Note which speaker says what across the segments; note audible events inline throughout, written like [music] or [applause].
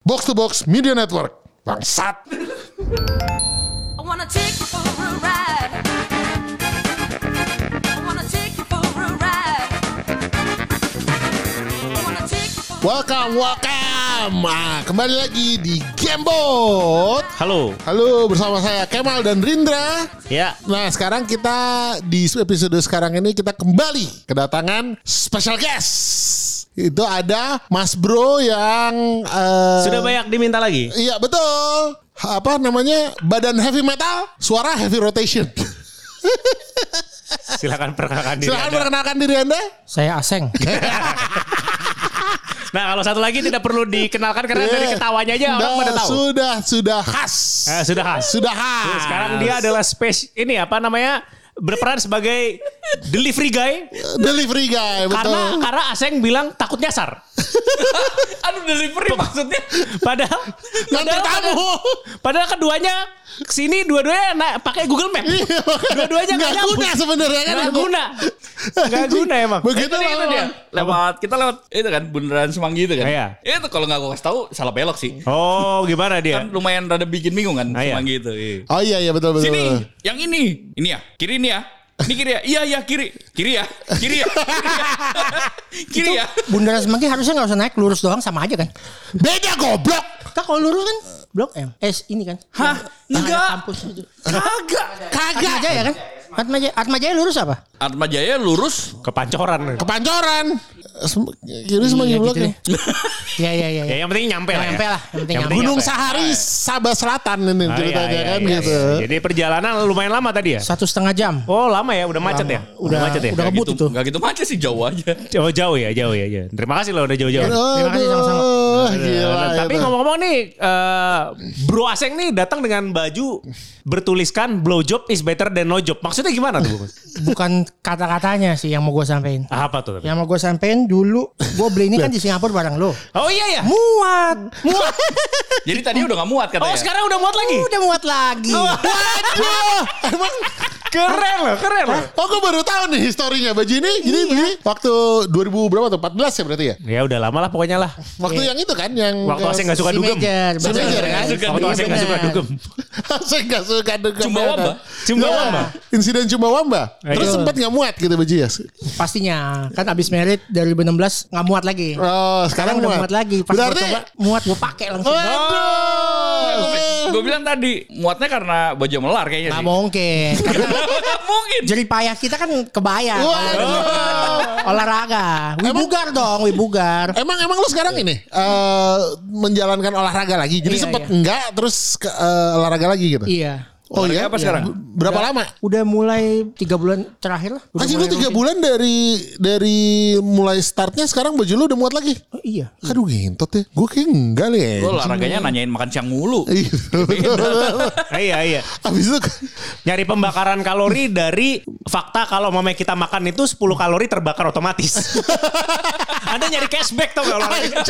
Speaker 1: Box to Box Media Network. Bangsat.
Speaker 2: I wanna take you for a ride. I wanna take you for a ride. I wanna take you for
Speaker 1: Welcome, welcome. Nah, kembali lagi di Gamebot.
Speaker 3: Halo.
Speaker 1: Halo, bersama saya Kemal dan Rindra.
Speaker 3: Ya.
Speaker 1: Nah, sekarang kita di episode sekarang ini kita kembali kedatangan special guest. Itu ada Mas Bro yang eh,
Speaker 3: Sudah banyak diminta lagi.
Speaker 1: Iya, betul. Apa namanya? Badan heavy metal, suara heavy rotation.
Speaker 3: Silakan perkenalkan diri.
Speaker 1: Silahkan
Speaker 3: Anda.
Speaker 1: perkenalkan diri Anda.
Speaker 4: Saya Aseng.
Speaker 3: Nah, kalau satu lagi tidak perlu dikenalkan karena
Speaker 1: Eh,
Speaker 3: dari ketawanya aja orang
Speaker 1: sudah,
Speaker 3: pada tahu.
Speaker 1: Sudah, sudah khas.
Speaker 3: Eh, sudah khas.
Speaker 1: Sudah khas.
Speaker 3: Iya, Sekarang dia adalah space ini apa namanya? berperan sebagai delivery guy
Speaker 1: delivery guy, betul.
Speaker 3: karena karena Aseng bilang takut nyasar.
Speaker 5: Aduh delivery maksudnya.
Speaker 3: Padahal
Speaker 1: Nanti
Speaker 3: padahal-
Speaker 1: tamu.
Speaker 3: Padahal keduanya kesini dua-duanya na- pakai Google Map.
Speaker 1: [laughs]
Speaker 3: Dua-duanya
Speaker 1: Iya, nggak
Speaker 3: nggak nyambung.
Speaker 1: guna sebenarnya kan.
Speaker 3: Nggak
Speaker 1: itu.
Speaker 3: guna. Nggak guna emang.
Speaker 1: Begitu
Speaker 5: Itu, dia, itu dia.
Speaker 1: dia.
Speaker 5: Lewat kita lewat itu kan bundaran Semanggi itu kan.
Speaker 3: Iya.
Speaker 5: Itu kalau nggak gua kasih tahu salah belok sih.
Speaker 3: Oh, gimana dia?
Speaker 5: Kan lumayan rada bikin bingung kan
Speaker 3: Ah, iya.
Speaker 5: Semanggi itu. Iya.
Speaker 1: Oh iya iya betul betul.
Speaker 5: Sini,
Speaker 1: betul.
Speaker 5: yang ini. Ini ya, kiri ini ya. Ini kiri ya. Iya iya kiri. Kiri ya. Kiri ya. Kiri ya. kiri
Speaker 3: Iya.
Speaker 5: ya.
Speaker 4: Bundaran Semanggi harusnya nggak usah naik lurus doang sama aja kan?
Speaker 1: Beda goblok.
Speaker 4: Kan kalau lurus kan Blok M. Eh ini kan?
Speaker 5: Hah?
Speaker 4: Yang ada
Speaker 5: Enggak.
Speaker 4: Kampus itu.
Speaker 5: Kagak.
Speaker 4: Atma
Speaker 1: Kagak. ya
Speaker 4: Jaya kan? Atma Jaya, Atma Jaya lurus apa?
Speaker 5: Atma Jaya lurus.
Speaker 3: Kepancoran.
Speaker 1: Kepancoran. Sem- Kiri semua
Speaker 4: Iya,
Speaker 1: goblok
Speaker 4: gitu
Speaker 1: ya.
Speaker 4: deh. Iya iya iya.
Speaker 3: Ya, yang penting nyampe lah. ya.
Speaker 4: Nyampe lah, yang penting nyampe.
Speaker 1: Gunung
Speaker 3: [laughs] nyampe.
Speaker 1: Sahari Sabah Selatan ini
Speaker 3: Ah,
Speaker 1: ceritanya
Speaker 3: iya, iya,
Speaker 1: kan
Speaker 3: iya,
Speaker 1: gitu.
Speaker 3: iya. Jadi perjalanan lumayan lama tadi ya?
Speaker 4: Satu setengah jam.
Speaker 3: Oh lama ya, udah macet ya? Udah, macet ya?
Speaker 4: udah
Speaker 5: Nggak
Speaker 4: kebut
Speaker 5: gitu,
Speaker 4: itu.
Speaker 5: nggak gitu macet sih jauh aja.
Speaker 3: Oh jauh ya, jauh ya. Jauh. Terima kasih loh udah jauh-jauh.
Speaker 1: Iya,
Speaker 4: Terima kasih, sama-sama.
Speaker 1: Aduh, Gila. iya,
Speaker 3: Nah, tapi
Speaker 1: itu.
Speaker 3: ngomong-ngomong nih, eh, Bro Aseng nih datang dengan baju bertuliskan blowjob is better than no job. Maksudnya gimana tuh? Bung?
Speaker 4: Bukan kata-katanya sih yang mau gue sampein.
Speaker 3: Apa tuh? tapi?
Speaker 4: Yang mau gue sampein dulu gue beli ini kan di Singapura barang lo.
Speaker 3: Oh iya ya.
Speaker 4: Muat, muat.
Speaker 5: Jadi tadi udah nggak muat katanya.
Speaker 1: Iya.
Speaker 3: Oh sekarang udah muat lagi.
Speaker 4: Udah muat lagi.
Speaker 3: Oh.
Speaker 1: Waduh. Emang
Speaker 3: Keren loh, keren loh.
Speaker 1: Oh gue baru tahu nih historinya baju ini Jadi
Speaker 3: Iya.
Speaker 1: beli waktu 2000 berapa tuh 14 ya berarti ya
Speaker 3: Ya udah lama lah pokoknya lah.
Speaker 1: Waktu yang itu kan yang
Speaker 3: Iya. Waktu Aseng nggak suka
Speaker 4: Si
Speaker 3: dugem.
Speaker 4: Major,
Speaker 1: Si
Speaker 4: bener.
Speaker 1: Major kan?
Speaker 3: Waktu Aseng nggak suka
Speaker 1: [laughs]
Speaker 4: Bener.
Speaker 3: dugem.
Speaker 1: Aseng gak suka dugem
Speaker 5: Chumbawamba.
Speaker 3: Chumbawamba.
Speaker 1: Ya, Insiden Chumbawamba Terus
Speaker 3: Ayo.
Speaker 1: sempat gak muat gitu baju ya
Speaker 4: Pastinya kan abis merit dari 2016 nggak muat lagi.
Speaker 1: Oh sekarang,
Speaker 4: udah muat lagi. Pas gua
Speaker 1: Berarti
Speaker 4: coba muat gue pakai langsung.
Speaker 3: Oh.
Speaker 1: Waduh
Speaker 5: Gue bilang tadi muatnya karena baju melar kayaknya
Speaker 4: Nggak
Speaker 5: sih.
Speaker 4: mungkin. [laughs]
Speaker 5: Mungkin.
Speaker 4: Jerih payah kita kan kebayang.
Speaker 1: Waduh
Speaker 4: Olahraga. Wibugar dong, wibugar.
Speaker 1: Emang emang lu sekarang ini eh, menjalankan olahraga lagi. Jadi
Speaker 4: Iya,
Speaker 1: sempet
Speaker 4: iya.
Speaker 1: enggak terus ke, eh, olahraga lagi gitu.
Speaker 4: Iya.
Speaker 1: Oh
Speaker 5: Olahraga
Speaker 1: iya.
Speaker 5: apa sekarang?
Speaker 1: Iya. Berapa lama?
Speaker 4: Udah mulai tiga bulan terakhir lah. Udah
Speaker 1: Anjing lu
Speaker 4: mulai
Speaker 1: tiga
Speaker 4: rutin.
Speaker 1: bulan dari dari mulai startnya sekarang baju lu udah muat lagi.
Speaker 4: Oh, iya.
Speaker 1: Aduh gentot ya. Gue kayak enggak deh. [laughs]
Speaker 5: Gue olahraganya nanyain makan siang mulu.
Speaker 1: Iya.
Speaker 3: Iya iya.
Speaker 1: Abis itu
Speaker 3: Nyari pembakaran kalori dari fakta kalau mama kita makan itu 10 kalori terbakar otomatis. [laughs] Anda nyari cashback tau gak olahraga?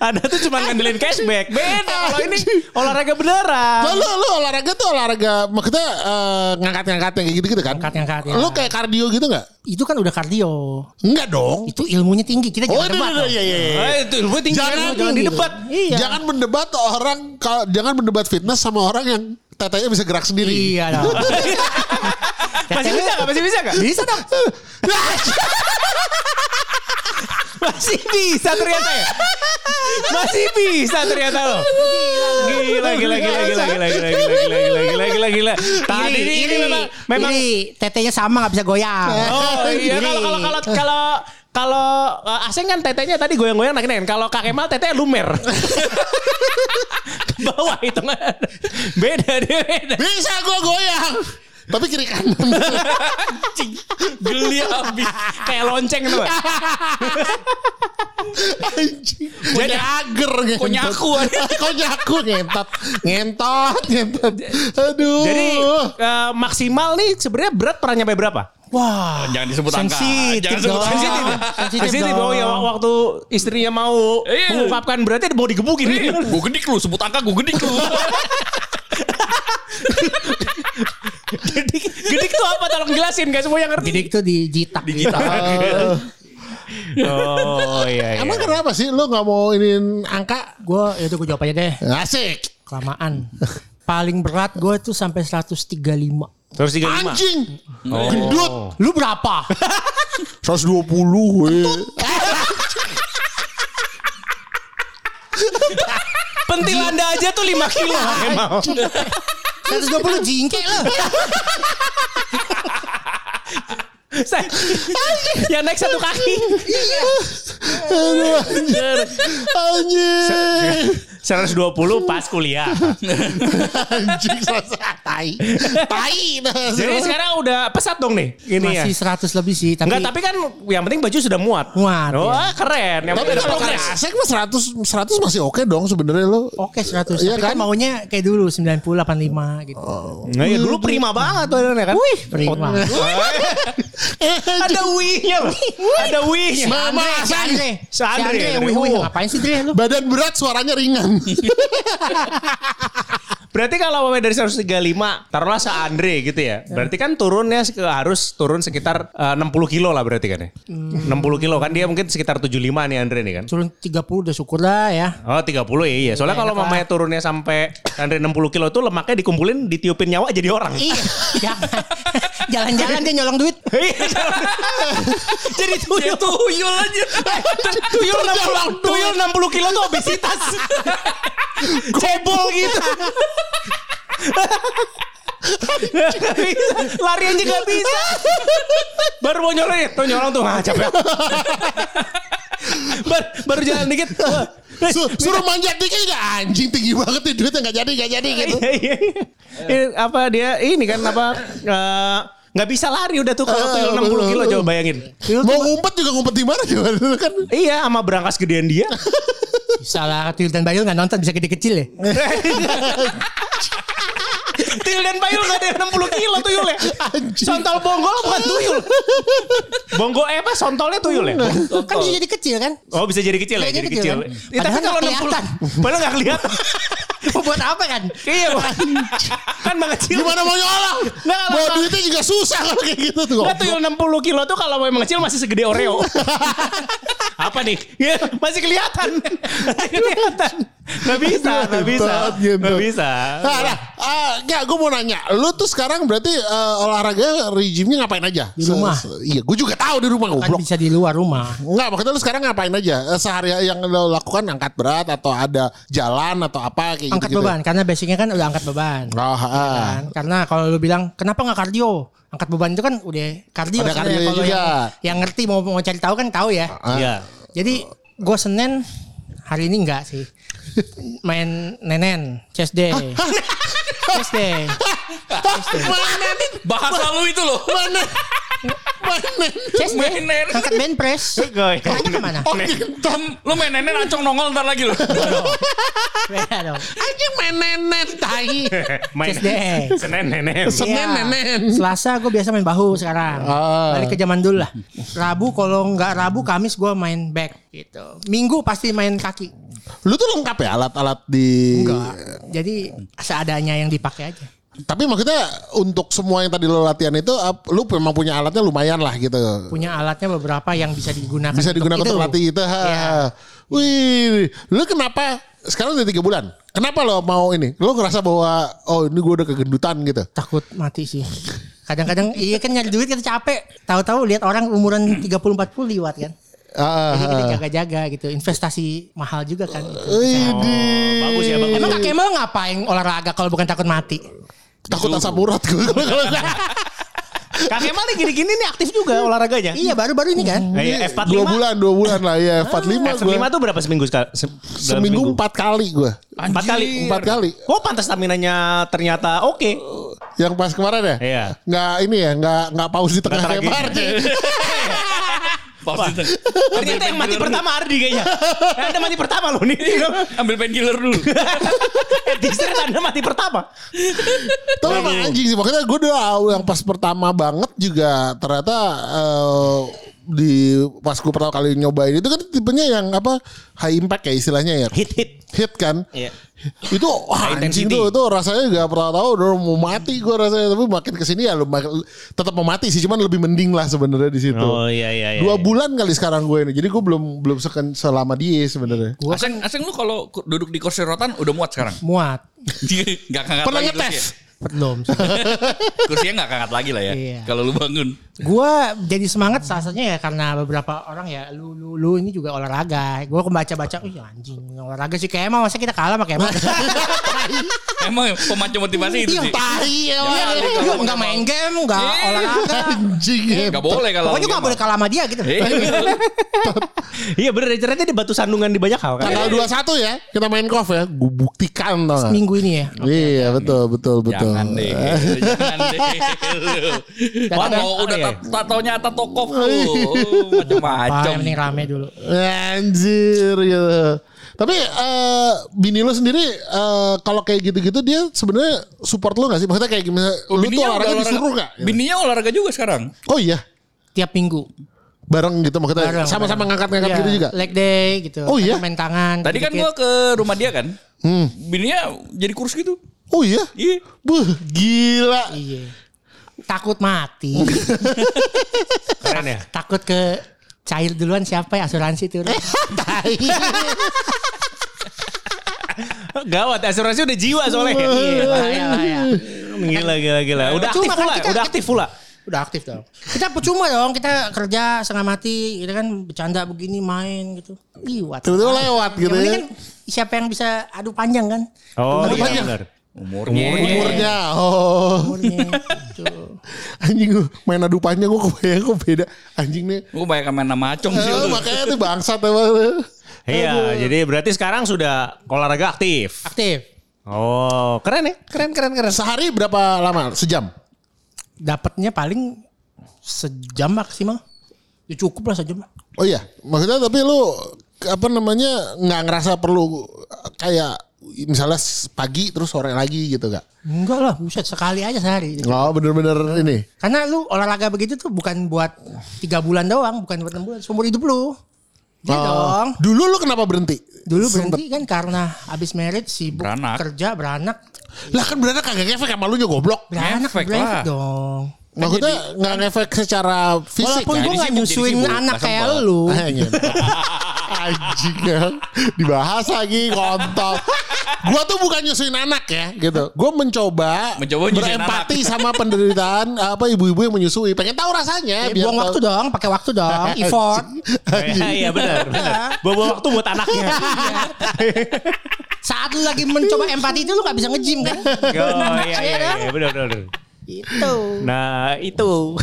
Speaker 3: Anda tuh cuma ngandelin cashback. Beda kalau [laughs] ini olahraga beneran.
Speaker 1: Lah, lu, lu olahraga tuh olahraga maksudnya eh, ngangkat-ngangkat yang kayak gitu-gitu kan?
Speaker 4: Ngangkat-ngangkat, ya.
Speaker 1: Lu kayak kardio gitu enggak?
Speaker 4: Itu kan udah kardio.
Speaker 1: Enggak dong.
Speaker 4: Itu ilmunya tinggi. Kita
Speaker 1: Oh, iya,
Speaker 4: jangan
Speaker 1: iya,
Speaker 4: debat. dong.
Speaker 1: iya, iya, iya.
Speaker 3: Eh, itu ilmu tinggi
Speaker 1: Jangan,
Speaker 3: jangan, gitu. jangan
Speaker 4: tinggi
Speaker 3: didebat.
Speaker 4: tuh. Iya.
Speaker 1: Jangan mendebat orang kalau jangan mendebat fitness sama orang yang tetenya bisa gerak sendiri.
Speaker 4: Iya
Speaker 1: [laughs]
Speaker 4: dong.
Speaker 3: Ah, Masih bisa gak? Masih bisa [laughs] gak?
Speaker 4: Bisa dong.
Speaker 3: Masih bisa ternyata ya. Masih bisa ternyata lo. Gila gila gila gila gila gila gila gila gila gila gila gila. Tadi ini, ini memang memang
Speaker 4: iri. tetenya sama nggak bisa goyang.
Speaker 3: Oh iya
Speaker 4: Iri.
Speaker 3: kalau kalau kalau kalau kalau eh, Aseng kan tetenya tadi goyang-goyang naik naik. Kalau Kak Kemal tetenya lumer. [laughs] Ke bawah hitungan. Beda deh beda.
Speaker 1: Bisa gua goyang. Tapi kiri kanan. [laughs]
Speaker 3: Anjing. Geli abis. Kayak lonceng tuh.
Speaker 1: Anjing. Jadi ager ngentot. [laughs]
Speaker 5: konyaku.
Speaker 1: Konyaku ngentot. Ngentot, ngentot. Aduh.
Speaker 3: Jadi eh, maksimal nih sebenarnya berat pernah nyampe berapa?
Speaker 4: Wah.
Speaker 5: Ah, Jangan disebut angka.
Speaker 4: sensitif
Speaker 5: Jangan disebut
Speaker 4: dong.
Speaker 5: sensitif.
Speaker 4: Sensitif
Speaker 3: Sensitif
Speaker 4: dong.
Speaker 3: oh ya waktu istrinya mau
Speaker 5: Iya.
Speaker 3: mengungkapkan berarti mau digebukin.
Speaker 5: Gue gedik lu, sebut angka gue gedik lu.
Speaker 3: gedik, gedik tuh apa? Tolong jelasin guys semua yang ngerti.
Speaker 4: Jadi itu di jitak.
Speaker 5: Digital.
Speaker 3: Oh iya iya.
Speaker 1: Emang kenapa sih lu nggak mau iniin angka?
Speaker 4: Gue ya itu gue jawab aja deh.
Speaker 1: Asik.
Speaker 4: Kelamaan. Paling berat gue itu sampai 135.
Speaker 3: Terus 35.
Speaker 1: Anjing.
Speaker 3: Oh.
Speaker 1: Gendut.
Speaker 4: Lu berapa?
Speaker 1: 120 weh.
Speaker 3: Pentil Anda aja tuh 5 kilo.
Speaker 4: Iya.
Speaker 3: Emang.
Speaker 4: 120 jingkek lah.
Speaker 3: Saya, yang naik satu kaki.
Speaker 1: Aduh, anjing. Anjing.
Speaker 3: 120 pas kuliah.
Speaker 1: Anjing selesai. Tai. Tai. nah.
Speaker 3: Jadi sekarang udah pesat dong nih. Ini ya.
Speaker 4: Masih 100 lebih sih. Tapi,
Speaker 3: Enggak, tapi kan yang penting baju sudah muat.
Speaker 4: Muat,
Speaker 3: Wah, keren. Yang
Speaker 1: Tapi
Speaker 3: penting ada
Speaker 1: kalau
Speaker 3: progres.
Speaker 1: asik mah 100 100 masih oke dong sebenarnya lu.
Speaker 3: Oh.
Speaker 4: Oke 100.
Speaker 1: Iya
Speaker 4: tapi kan?
Speaker 1: kan?
Speaker 4: maunya kayak dulu 90, 85 gitu.
Speaker 3: Nah, ya dulu prima banget tuh adanya kan. Wih,
Speaker 4: Prima.
Speaker 3: Ada wih-nya. loh. Ada wih-nya.
Speaker 1: Mama,
Speaker 4: si Andre. Si
Speaker 3: Andre. Oh.
Speaker 4: Andre. yang wih-wih. Ngapain sih Dre lu?
Speaker 1: Badan berat suaranya ringan.
Speaker 3: [laughs] Berarti kalau awalnya dari 135, taruhlah se Andre gitu ya. Berarti kan turunnya sek- harus turun sekitar eh, 60 kilo lah berarti kan ya. 60 kilo kan dia mungkin sekitar 75 nih Andre nih kan.
Speaker 4: Turun 30 udah syukur lah ya.
Speaker 3: Oh 30 ya iya. Soalnya kalau
Speaker 4: enak lah.
Speaker 3: mamanya turunnya sampai Andre 60 kilo tuh lemaknya dikumpulin ditiupin nyawa jadi orang. [laughs]
Speaker 4: Iya. [laughs] jangan. Jalan-jalan dia nyolong duit.
Speaker 3: Iya. jadi tuyul. Eh,
Speaker 5: Tuyul aja.
Speaker 3: tuyul 60, tuyul 60 kilo tuh [laughs] obesitas. Cebol gitu. Gak bisa. Lari aja gak bisa. Baru mau nyolong, tuh nyolong tuh ah capek. Bar- baru jalan dikit. wah.
Speaker 1: Su- suruh manjat dikit juga anjing tinggi banget nih duitnya nggak jadi nggak jadi gitu.
Speaker 3: Iya, iya, iya. [laughs] Ini apa dia ini kan apa eh, nggak bisa lari udah tuh kalau tuyul [laughs] 60 kilo coba bayangin.
Speaker 1: Mau ngumpet juga ngumpet di mana coba [laughs] dulu kan.
Speaker 3: Iya sama berangkas gedean dia. [laughs]
Speaker 4: Salah Tuyul dan Bayul nggak nonton bisa gede kecil ya.
Speaker 3: Tuyul dan payul gak ada yang 60 kilo tuyulnya.
Speaker 1: Anjing.
Speaker 3: Sontol bonggol bukan tuyul. [laughs] Bonggol eh apa sontolnya tuyul ya?
Speaker 4: Kan bisa jadi kecil kan?
Speaker 3: Oh bisa jadi kecil ya,
Speaker 4: Kayaknya
Speaker 3: jadi
Speaker 4: kecil,
Speaker 3: kecil.
Speaker 4: kan?
Speaker 3: Ya, tapi
Speaker 4: Padahal
Speaker 3: kalau
Speaker 4: nggak
Speaker 3: 60, padahal gak kelihatan.
Speaker 4: Mau buat apa kan?
Speaker 3: [laughs] Iya, Bang. kan mengecil.
Speaker 1: Gimana mau nyolong?
Speaker 3: Nah,
Speaker 1: Bawa
Speaker 3: lama.
Speaker 1: duitnya juga susah kalau kayak gitu tuh.
Speaker 3: Nggak tuyul 60 kilo tuh kalau memang kecil masih segede Oreo. [laughs] apa nih? Ya, masih
Speaker 1: [laughs]
Speaker 3: kelihatan. Masih kelihatan. Gak bisa, gak bisa.
Speaker 1: Ngentot,
Speaker 3: Gak
Speaker 1: ngentot.
Speaker 3: bisa.
Speaker 1: Nah, nah, ah, nggak, gue mau nanya. Lu tuh sekarang berarti eh, olahraga regimenya ngapain aja?
Speaker 4: Di rumah.
Speaker 1: iya, gue juga tahu di rumah goblok.
Speaker 4: Kan bisa di luar rumah.
Speaker 1: Enggak, maksudnya lu sekarang ngapain aja? Eh, Sehari yang lo lakukan angkat berat atau ada jalan atau apa kayak
Speaker 4: Angkat
Speaker 1: gitu.
Speaker 4: beban karena basicnya kan udah angkat beban.
Speaker 1: Oh, ah.
Speaker 4: kan. Karena kalau lu bilang kenapa nggak kardio? Angkat beban itu kan udah kardio.
Speaker 1: Ada
Speaker 4: sebenarnya.
Speaker 1: kardio
Speaker 4: Kalau
Speaker 1: juga.
Speaker 4: Yang, yang ngerti mau mau cari tahu kan tahu ya.
Speaker 1: Ah.
Speaker 3: Iya.
Speaker 4: Jadi gue Senin hari ini enggak sih. Main nenen, chest
Speaker 1: Ah,
Speaker 4: day. chest day.
Speaker 5: Bahasa lu itu loh.
Speaker 1: Mana? Mana?
Speaker 4: Chest day.
Speaker 5: Main nenen.
Speaker 4: Angkat bench press. Kayaknya kemana?
Speaker 1: Oh, ngentot.
Speaker 5: Lu main nenek rancong nongol ntar lagi lu.
Speaker 4: Beda dong.
Speaker 1: Anjing main nenen tai.
Speaker 3: Main
Speaker 4: Chest
Speaker 1: E.
Speaker 4: day.
Speaker 3: Senin nenek.
Speaker 1: Senin
Speaker 4: Iya.
Speaker 1: nenen.
Speaker 4: Selasa gue biasa main bahu sekarang.
Speaker 1: Ah.
Speaker 4: Balik ke zaman dulu lah. Rabu kalau nggak Rabu Kamis gue main back gitu. Minggu pasti main kaki.
Speaker 1: Lu tuh lengkap ya alat-alat di
Speaker 4: Enggak. Jadi seadanya yang dipakai aja.
Speaker 1: Tapi maksudnya untuk semua yang tadi lo latihan itu ap- lu memang punya alatnya lumayan lah gitu.
Speaker 4: Punya alatnya beberapa yang bisa digunakan.
Speaker 1: Bisa digunakan untuk latih itu. Ha.
Speaker 4: Iya.
Speaker 1: Wih, lu kenapa sekarang udah tiga bulan? Kenapa lo mau ini? Lo ngerasa bahwa oh ini gue udah kegendutan gitu.
Speaker 4: Takut mati sih. Kadang-kadang iya kan nyari duit kita capek. Tahu-tahu lihat orang umuran 30 40 liwat kan.
Speaker 1: Ah,
Speaker 4: Jadi kita
Speaker 1: ah.
Speaker 4: jaga-jaga gitu. Investasi mahal juga kan. Gitu.
Speaker 1: Wih, di.
Speaker 3: Bagus ya,
Speaker 1: Iya.
Speaker 3: bagus.
Speaker 4: Emang Kak Kemal ngapain olahraga kalau bukan takut mati?
Speaker 1: takut asap urat gue kalau nggak.
Speaker 3: Kang Kemal nih gini-gini nih aktif juga olahraganya.
Speaker 4: Iya baru-baru ini kan.
Speaker 1: Ya, Iya. dua
Speaker 3: Eh, F45
Speaker 1: bulan dua bulan lah ya empat lima gue
Speaker 3: F45 tuh berapa seminggu sekali? Se- dalam
Speaker 1: seminggu empat kali gue
Speaker 3: Empat kali.
Speaker 1: empat kali
Speaker 3: Oh pantas staminanya ternyata oke.
Speaker 1: Oh, yang pas kemarin ya
Speaker 3: Iya.
Speaker 1: nggak ini ya nggak nggak paus di tengah
Speaker 3: tragedi.
Speaker 1: lebar gitu.
Speaker 5: Pasti tuh.
Speaker 3: Ternyata yang mati pertama Ardi
Speaker 1: [laughs]
Speaker 3: kayaknya. Anda mati pertama loh nih.
Speaker 5: Iya,
Speaker 1: Iya.
Speaker 3: [laughs]
Speaker 5: Ambil painkiller dulu.
Speaker 3: Eh, Distrik Anda mati pertama.
Speaker 1: tapi emang anjing sih makanya gue udah yang pas pertama banget juga ternyata eh, di pas gue pertama kali nyobain itu kan tipenya yang apa high impact ya istilahnya ya
Speaker 3: Hit hit.
Speaker 1: hit kan
Speaker 3: Iya.
Speaker 1: itu wah, anjing
Speaker 3: intensity.
Speaker 1: tuh itu rasanya gak pernah tahu udah mau mati gue rasanya tapi makin kesini ya lu mak- tetap mau mati sih cuman lebih mending lah sebenarnya di situ
Speaker 3: Oh iya iya iya.
Speaker 1: dua
Speaker 3: iya.
Speaker 1: bulan kali sekarang gue ini jadi gue belum belum seken, selama dia sebenarnya
Speaker 4: Gua
Speaker 5: Aseng, aseng lu kalau ku- duduk di kursi rotan udah muat sekarang.
Speaker 4: muat.
Speaker 5: Gak Iya, kangkat
Speaker 1: Pernah
Speaker 5: lagi
Speaker 1: ngetes?
Speaker 5: kursinya.
Speaker 4: Belum. sih.
Speaker 5: Kursinya gak kangkat lagi lah ya.
Speaker 4: Iya.
Speaker 5: Kalau lu bangun.
Speaker 4: gua jadi semangat salah satunya ya karena beberapa orang ya lu lu, lu ini juga olahraga. Gua kebaca-baca, "Ih anjing, yang olahraga sih kayak masa kita kalah sama
Speaker 1: [laughs]
Speaker 4: Kemal."
Speaker 5: Emang pemacu motivasi itu
Speaker 4: Iya,
Speaker 5: sih.
Speaker 4: tai.
Speaker 5: Iya,
Speaker 4: ya, orang.
Speaker 5: iya.
Speaker 4: Iya, enggak main game, enggak
Speaker 5: Iya.
Speaker 4: olahraga.
Speaker 1: anjing
Speaker 3: Eh,
Speaker 1: ya
Speaker 5: Gak boleh kalau. Eh,
Speaker 4: Pokoknya gua gak boleh kalah sama dia gitu.
Speaker 3: Iya bener ternyata di batu sandungan di banyak hal kan.
Speaker 1: tanggal 21 ya kita main golf ya gue buktikan tau gak?
Speaker 4: Minggu ini ya.
Speaker 1: iya betul betul betul Eh.
Speaker 5: Jangan deh, jangan deh. Lu. Wah,
Speaker 3: Kadang-
Speaker 5: mau udah
Speaker 3: apa ya?
Speaker 5: tat- tato nyata toko lu. Macam-macam.
Speaker 4: Wah, yang penting rame dulu.
Speaker 1: Anjir gitu. Tapi eh bini lu sendiri eh kalau kayak gitu-gitu dia sebenarnya support lu gak sih? Maksudnya kayak gimana? Lu tuh
Speaker 5: Bininya udah
Speaker 1: olahraga disuruh gak? Gitu.
Speaker 5: Bininya olahraga juga sekarang.
Speaker 1: Oh iya,
Speaker 4: Tiap minggu.
Speaker 1: bareng gitu maksudnya
Speaker 4: Bareng,
Speaker 1: sama-sama
Speaker 4: bareng.
Speaker 1: ngangkat-ngangkat
Speaker 4: Iya,
Speaker 1: gitu juga.
Speaker 4: Leg day gitu.
Speaker 1: Oh, iya?
Speaker 4: Atau Main tangan.
Speaker 5: Tadi kan
Speaker 4: dikit-dikit.
Speaker 5: gua ke rumah dia kan. Bininya jadi kurus gitu.
Speaker 1: Oh iya.
Speaker 5: Iya.
Speaker 1: Buh, gila.
Speaker 4: Iya. Takut mati.
Speaker 3: Keren ya.
Speaker 4: Takut ke cair duluan siapa ya asuransi tuh.
Speaker 5: [laughs]
Speaker 4: Tai.
Speaker 3: Gawat asuransi udah jiwa soalnya.
Speaker 4: Iya,
Speaker 5: ya,
Speaker 4: bahaya, bahaya.
Speaker 3: Gila gila gila. Udah aktif
Speaker 4: Cuma kan
Speaker 3: pula,
Speaker 4: kita-
Speaker 3: udah Iya. aktif pula.
Speaker 4: Udah aktif dong. Kita percuma dong, kita kerja setengah mati, gitu kan bercanda begini main gitu. Liwat.
Speaker 1: Tiba-tiba lewat gitu
Speaker 4: Yang
Speaker 1: ya.
Speaker 4: penting kan siapa yang bisa adu panjang kan?
Speaker 3: Oh
Speaker 1: Umurnya.
Speaker 3: iya bener.
Speaker 5: Umurnya.
Speaker 1: Umurnya. Oh.
Speaker 4: Umurnya. Gitu.
Speaker 1: Anjing lu main adu panjang gua kebayang kok beda. Anjing nih.
Speaker 5: Gue banyak main sama acong sih.
Speaker 1: Eh,
Speaker 5: lu.
Speaker 1: makanya tuh bangsat emang.
Speaker 3: Iya, jadi berarti sekarang sudah olahraga aktif.
Speaker 4: Aktif.
Speaker 3: Oh, keren ya.
Speaker 1: Keren keren keren. Sehari berapa lama? Sejam.
Speaker 4: Dapatnya paling sejam maksimal. Ya cukup lah sejam.
Speaker 1: Oh iya, maksudnya tapi lu apa namanya nggak ngerasa perlu kayak misalnya s- pagi terus sore lagi gitu gak?
Speaker 4: Enggak lah, buset sekali aja sehari.
Speaker 1: Oh bener-bener ini.
Speaker 4: Karena lu olahraga begitu tuh bukan buat tiga bulan doang, bukan buat enam bulan, seumur hidup lu. Iya
Speaker 1: Oh.
Speaker 4: dong.
Speaker 1: Dulu lu kenapa berhenti?
Speaker 4: Dulu berhenti kan karena abis married sibuk
Speaker 5: Beranak.
Speaker 4: kerja beranak,
Speaker 1: Lah kan beneran kagak ngefek sama lu nya goblok.
Speaker 4: beranak
Speaker 5: Ngefek
Speaker 4: beranak
Speaker 5: lah.
Speaker 4: dong.
Speaker 1: Maksudnya nggak ngefek secara fisik. kan? gitu.
Speaker 4: Walaupun
Speaker 5: jadi
Speaker 4: gue gak
Speaker 5: sibuk, jadi
Speaker 4: nyusuin
Speaker 5: sibuk,
Speaker 4: anak
Speaker 5: nggak
Speaker 4: kayak
Speaker 5: sempat.
Speaker 1: [laughs]
Speaker 4: lu,
Speaker 1: Anjing. Anjing ya. Dibahas lagi kontol. Gua tuh bukan nyusuin anak ya gitu. Gua mencoba,
Speaker 5: Mencoba nyusuin
Speaker 1: berempati sama penderitaan apa ibu-ibu yang menyusui. Pengen tahu rasanya
Speaker 4: ya, buang
Speaker 1: tahu-
Speaker 4: waktu dong, pakai waktu
Speaker 1: [laughs]
Speaker 4: dong,
Speaker 1: Eh,
Speaker 4: effort.
Speaker 3: Iya, iya benar, benar. Bawa waktu buat anaknya. Iya.
Speaker 4: Saat lu lagi mencoba empati itu lu gak bisa nge-gym kan?
Speaker 3: Oh iya iya,
Speaker 4: Iya,
Speaker 3: iya benar benar. benar.
Speaker 4: Itu.
Speaker 3: Nah, itu.